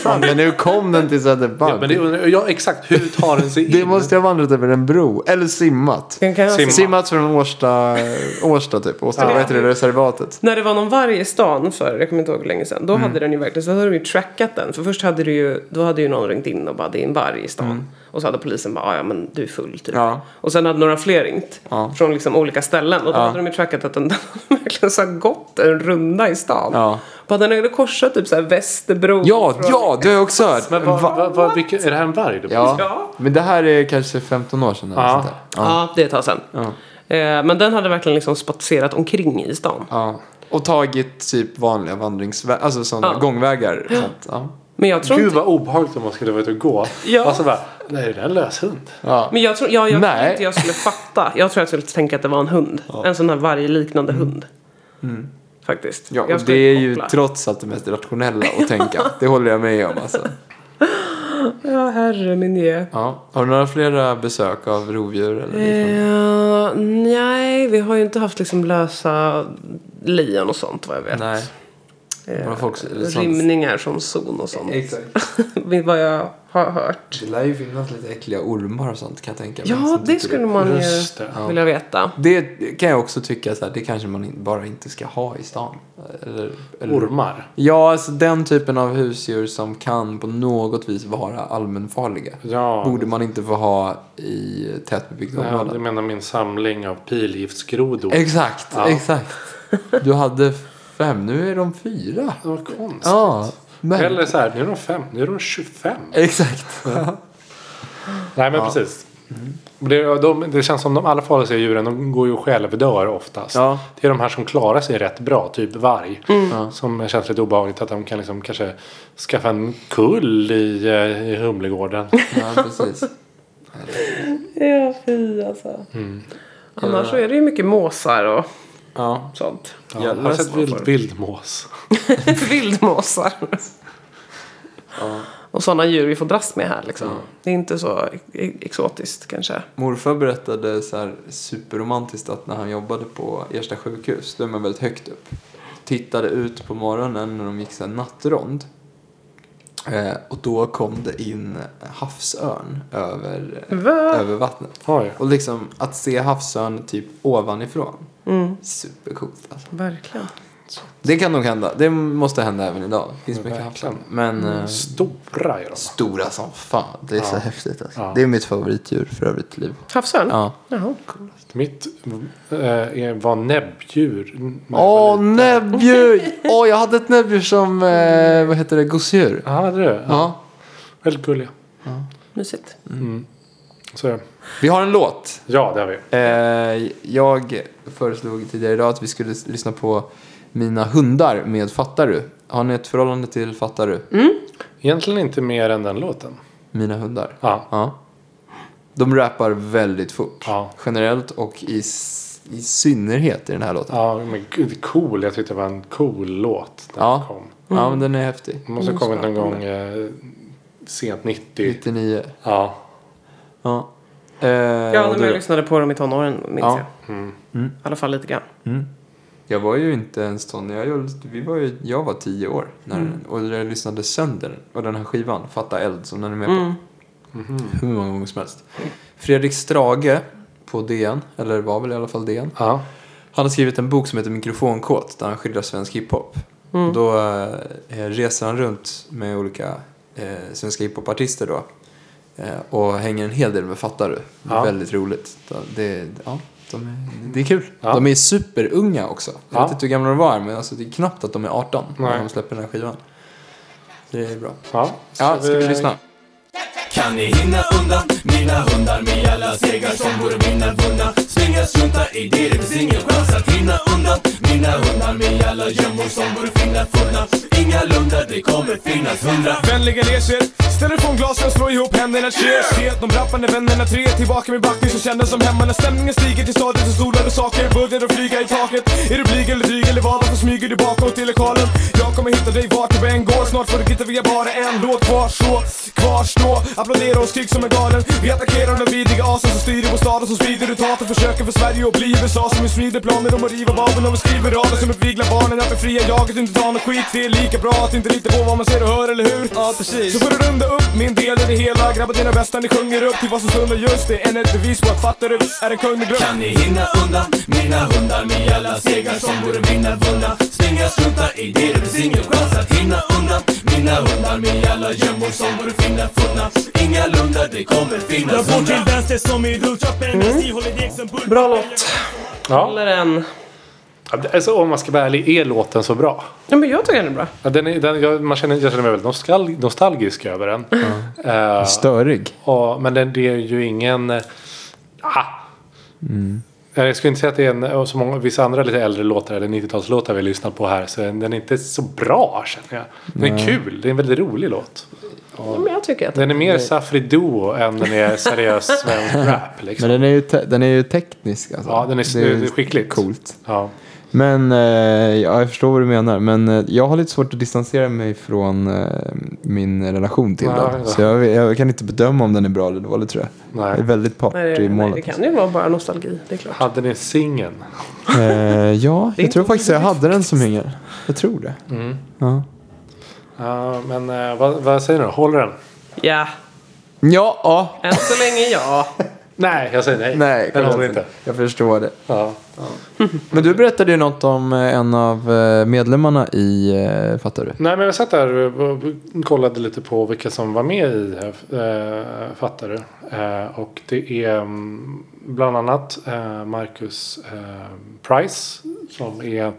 C: Fan, men nu kom den till Södermalm.
D: Ja, men det är under... ja, exakt. Hur tar den sig in?
C: det måste ha vandrat över en bro. Eller simmat.
B: Den kan jag
D: Simma.
C: Simmat från Årsta, Årsta typ. Årsta, vad heter det, reservatet.
B: När det var någon varg i stan för, jag kommer inte ihåg hur länge sedan, då
C: Mm.
B: hade den ju verkligen, så hade de ju trackat den. För först hade det ju, då hade ju någon ringt in och bara det är en varg i stan. Och så hade polisen bara, "Ah, ja men du är full typ.
C: Mm. Ja.
B: Och sen hade några fler ringt
C: Ja.
B: från liksom olika ställen. Och då hade de ju trackat att den, <laughs> den hade verkligen så här gått en runda i stan.
C: Ja.
B: Bara den hade korsat typ så här Västerbro.
C: Ja,
B: från-
C: ja, det har jag också hört.
D: Men vad,
C: Va-
D: vad, vad, vilka, är det här en varg? du
C: Ja.
B: Ja.
C: men det här är kanske 15 år sedan. Eller
D: Ja.
C: sånt där.
B: Ja. det är ett tag sedan. Eh, men den hade verkligen liksom spatserat omkring i stan.
C: Ja. Och tagit typ vanliga vandringsvägar, alltså sådana
B: Ja.
C: gångvägar. Så att, ja.
B: Men jag tror
D: Gud
B: inte...
D: vad obehagligt om man skulle vara ute och gå.
B: Ja.
D: Och så bara, nej det där är en löshund.
C: Ja.
B: Men jag tror, ja, jag tror
C: Nej.
B: inte jag skulle fatta. Jag tror jag skulle tänka att det var en hund. En sån här vargliknande hund. Faktiskt.
C: Mm. Ja,
B: jag
C: och det
B: skulle
C: är
B: inte
C: ju
B: koppla.
C: trots allt det mest rationella att tänka. Det håller jag med om alltså.
B: Ja, herre min je.
C: Ja. Har du några flera besök av rovdjur eller liknande?
B: Eh, nej, vi har ju inte haft liksom lösa lejon och sånt vad jag vet. Eh,
C: Nej. Några folk, sånt.
B: Rymningar som zon och sånt.
C: Exakt.
B: vad jag har hört.
C: Det lär ju finnas lite äckliga ormar och sånt kan jag tänka mig.
B: Ja,
C: som
B: det
C: dyker
B: skulle
C: upp.
B: man ju
D: Just det,
B: vilja veta.
C: Det kan jag också tycka så här, det kanske man in- bara inte ska ha i stan. Eller, eller...
D: Ormar.
C: Ja, alltså den typen av husdjur som kan på något vis vara allmänfarliga.
D: Ja.
C: Borde man inte få ha i tätbebyggt
D: Ja,
C: område.
D: du menar min samling av pilgiftsgrodor?
C: Exakt,
D: Ja.
C: exakt. Du hade fem, nu är de fyra.
D: Det var konstigt.
C: Ja, men...
D: Eller så här, nu är de fem, nu är de 25.
C: Exakt.
D: Nej men precis.
B: Mm.
D: Det, de, det känns som de allra farligaste djuren, de går ju och självdör oftast.
C: Ja.
D: Det är de här som klarar sig rätt bra, typ varg.
B: Mm.
D: Som känns lite obehagligt att de kan liksom kanske skaffa en kull i, eh, i <laughs> Humlegården.
A: Ja, precis.
B: Ja, fy alltså.
C: Mm.
B: Annars så är det ju mycket måsar och
C: Ja.
B: sånt.
D: Ja,
C: Jag
D: jag har
C: läste
D: sett
C: vad
D: vild,
C: för-
D: vildmås.
B: <laughs> Vildmåsar. Och sådana djur vi får dras med här liksom. Det är inte så e- exotiskt kanske.
C: Morfar berättade så här superromantiskt att när han jobbade på Ersta sjukhus, då är man väldigt högt upp. Tittade ut på morgonen när de gick så här nattrond. Eh, och då kom det in havsörn över,
B: Va?
C: över vattnet.
D: Oj.
C: Och liksom att se havsörn typ ovanifrån.
B: Mm.
C: Supercoolt alltså.
B: Verkligen.
C: Det kan nog hända. Det måste hända även idag. Det finns mycket havsörn.
D: Verkligen.
C: Men eh,
D: Stora är de.
C: stora som fan. Det är så
D: Ja.
C: häftigt alltså.
D: Ja.
C: Det är mitt favoritdjur för övrigt liv.
B: Havsörn?
C: Ja.
B: Jaha.
D: Mitt eh, var näbbdjur. när jag var
A: Åh, <laughs>
D: liten.
A: näbbdjur! Åh, jag hade ett näbbdjur som, eh, vad heter det, gosedjur.
D: Ja, hade du? Ja.
A: Ja.
D: Väldigt gulliga.
B: Mysigt.
D: Så, är det.
A: Vi har en låt.
D: ja, det har vi.
A: Eh, jag föreslog tidigare idag att vi skulle s- lyssna på Mina hundar med Fattar du? Har ni ett förhållande till Fattar du?
D: Egentligen inte mer än den låten.
A: Mina hundar.
D: Ja.
A: Ja. De rappar väldigt fort.
D: Ja.
A: Generellt och i, s- i synnerhet i den här låten.
D: Ja, men gud, cool. Jag tyckte det var en cool låt när
A: Ja.
D: den kom.
A: Ja, Mm. men den är häftig.
D: Den måste ha kommit någon gång eh, sent 90.
A: 99.
D: Ja.
A: Ja. Eh,
B: Ja,
A: och
B: när
A: du
B: jag
A: då?
B: lyssnade på dem i tonåren minns
A: Ja.
B: jag. I alla fall lite grann.
A: Jag var ju inte ens ton. Jag, gjorde- vi var ju, jag var tio år när, och jag lyssnade sönder den. Och den här skivan, Fatta Eld, som den är med på.
D: Mhm.
A: Hur många gånger som helst. Fredrik Strage på DN, eller var väl i alla fall DN.
D: ja.
A: Han har skrivit en bok som heter Mikrofonkåt där han skildrar svensk hiphop.
D: Mm.
A: Då eh, reser han runt med olika eh, svenska hiphopartister då. Eh, och hänger en hel del med Fattar du. Det är
D: Ja.
A: Väldigt roligt. Det, ja, de är, det är kul.
D: Ja.
A: De är superunga också. Jag
D: Ja.
A: vet inte hur gamla de var men alltså, det är knappt att de är 18 när
D: Nej.
A: de släpper den här skivan. Så det är bra.
D: ja.
A: Ja, ska vi lyssna?
F: Kan ni hinna undan mina hundar med alla segrar som borde vinna vunna? Springa, strunta i det, det finns ingen chans att hinna undan mina hundar med alla gömmor som borde finna funna. Inga lunda, det kommer finnas hundra.
G: Vänligen res er, ställ er från glasen, slå ihop händerna, cheers! Se att de rappande vännerna tre tillbaka med backning som kändes som hemma när stämningen stiger till stadiet och stolar och saker börjar att flyga i taket. Är du blyg eller dryg eller vad, varför smyger du bakåt i lokalen? Jag kommer hitta dig vart du än går, snart får du hitta via bara en låt kvar så kvarstå. Applådera och skrik som en galen. Vi attackerar de vidriga asen som styr i vår stad och som sprider ut hat och försöker få Sverige att bli USA som vi smider planer om att riva vapen och vi skriver rader som uppviglar barnen att det fria jaget inte tar något skit. Det är lika bra att inte lita på vad man ser och hör, eller hur? Ja, precis. Så får du runda upp min del i det hela. Grabbar dina bästa, ni sjunger upp till vad som stundar just. Det är ännu ett bevis på att fattar du är en kung i glöm.
F: Kan ni hinna undan mina hundar med alla segrar som borde vinna vunna? Springa, strunta i det, det finns ingen chans att hinna undan mina hundar med alla gömmor som borde finna funna. Inga lunda, det kommer finnas hundra.
B: Bra låt.
D: Ja.
B: Håller den.
D: Ja, det- Alltså, om man ska vara ärlig, är låten så bra?
B: Ja, men jag tycker den är bra.
D: Ja, Den är, den, jag, man känner, jag känner mig väldigt nostal- nostalgisk över den. Eh,
C: Störig.
D: Ja, men det, det är ju ingen... eh, Ah.
C: Mm.
D: Jag skulle inte säga att det är en, och så många, vissa andra lite äldre låtar eller 90-talslåtar vi lyssnar på här. Så den är inte så bra känner jag. Den är kul, det är en väldigt rolig låt.
B: Ja, men jag tycker att
D: Den är mer Safri Duo än den är
C: <laughs>
D: seriös svensk rap. Liksom.
C: Men den är ju, te- den är ju teknisk alltså.
D: Ja, den är-
C: ju
D: det är skickligt.
C: Coolt.
D: Ja.
C: Men eh, ja, jag förstår vad du menar. Men eh, jag har lite svårt att distansera mig från eh, min relation till
D: Ja,
C: den.
D: ja.
C: Så jag, jag kan inte bedöma om den är bra eller dålig tror jag.
D: Nej.
C: Jag är väldigt part
B: Nej,
C: i
B: det, nej,
C: målet.
B: det kan ju vara bara nostalgi. Det är klart.
D: Hade ni singeln?
C: Eh, ja, jag
B: inte
C: tror faktiskt jag hade den som hänger. Jag tror det.
D: Mm.
C: Ja.
D: Ja, men eh, vad, vad säger du? Håller den?
B: Ja,
C: Ja, ja.
B: än så länge ja.
D: Nej, jag säger nej.
C: Nej,
D: den
C: klart
D: håller inte.
C: Jag förstår det.
D: Ja.
C: Men du berättade ju något om eh, en av eh, medlemmarna i eh, Fattar du?
D: Nej, men jag satt där och kollade lite på vilka som var med i eh, Fattar du? Eh, och det är mm, bland annat eh, Marcus eh, Price Som är,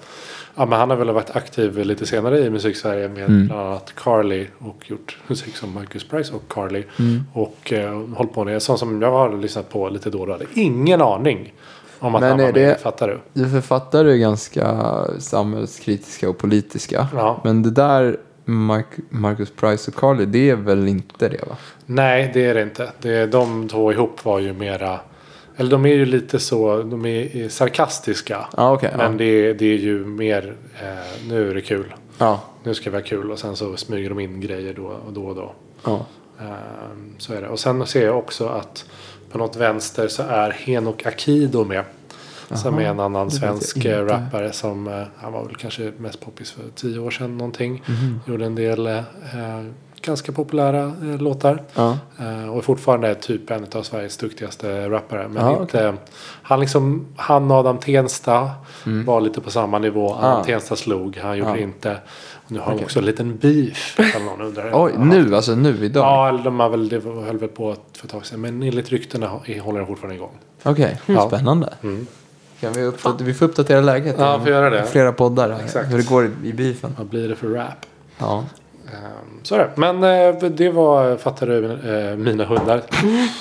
D: ja, men han har väl varit aktiv lite senare i Musiksverige med
C: Mm.
D: bland annat Carly och gjort musik som Marcus Price och Carly.
C: Mm.
D: Och eh, hållit på med sånt som jag har lyssnat på lite då och då. Jag hade ingen aning om att
C: Men
D: han var
C: är
D: med.
C: det-
D: Fattar du?
C: ju författare är ganska samhällskritiska och politiska.
D: Ja.
C: Men det där Mark- Marcus Price och Carly, det är väl inte det va?
D: Nej, det är det inte. Det är, de två ihop var ju mera... Eller de är ju lite så, de är är sarkastiska.
C: Ja, okej.
D: Men
C: ja.
D: det, är- det är ju mer, eh, nu är det kul.
C: Ja,
D: Nu ska vi ha kul och sen så smyger de in grejer då och då. Och då.
C: ja.
D: Ehm, så är det. Och sen ser jag också att på något vänster så är Henok Akido med. Som är en annan svensk eh, rappare som eh, han var väl kanske mest poppis för tio år sedan någonting.
C: Mhm.
D: Gjorde en del eh, eh, ganska populära eh, låtar.
C: ja.
D: Eh, Och är fortfarande är typ en av Sveriges duktigaste rappare. Men
C: Ja,
D: inte, han, liksom, han och Adam Tensta var lite på samma nivå. Adam
C: Mm. Ah.
D: Tensta slog, han gjorde
C: Ah.
D: inte. Och nu har han också en liten beef. ifall någon undrar.
C: Oj, nu alltså nu idag?
D: Ja, eller de har väl, det var- höll väl på att- för ett tag sedan. Men enligt ryktena hå- håller den fortfarande igång.
C: Okej, spännande. Kan vi, uppdater- vi får uppdatera läget.
D: Mm. Ja,
C: i
D: får göra det.
C: Flera poddar.
D: Exakt.
C: Hur det går i, i beefen.
D: Vad blir det för rap?
C: Ja.
D: Ehm, Så är det. Men eh, det var, fattar du, eh, mina hundar.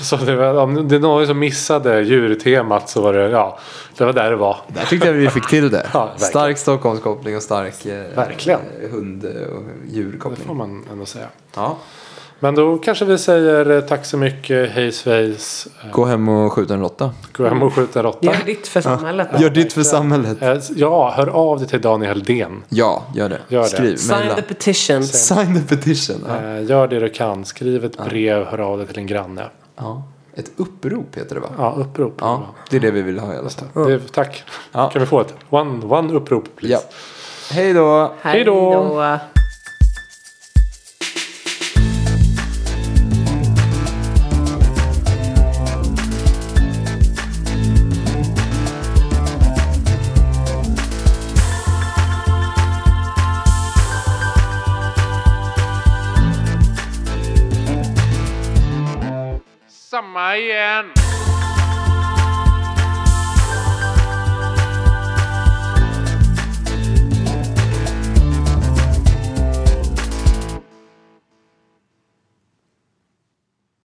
D: Så det var, om det är någon som missade djurtemat så var det, ja, det var där det var.
C: Där tyckte jag vi fick till det.
D: <laughs> Ja, verkligen.
C: stark Stockholmskoppling och stark eh,
D: Verkligen.
C: eh, hund och
D: Det får
C: djurkoppling.
D: man ändå säga.
C: Ja.
D: Men då kanske vi säger eh, tack så mycket, hej svejs, eh,
C: Gå hem och skjut en råtta.
D: gå hem och skjut en råtta.
B: Gör ditt för samhället.
C: Gör ditt för samhället.
D: Eh, s- Ja, hör av dig till Daniel Helldén.
C: Ja, gör det.
D: Gör det.
C: Skriv,
B: Sign
C: mejla.
B: the petition.
C: Sign the petition. Ja.
D: Eh, Gör det du kan, skriv ett brev, hör av dig till en granne.
C: Ja. Ett upprop heter det va?
D: Ja, upprop.
C: Ja, det är det vi vill ha i alla fall.
D: Det, tack.
C: Ja.
D: Kan vi få ett one, one upprop? Please?
C: Ja. Hej då!
B: Hej
D: då.
B: då.
H: Samma igen.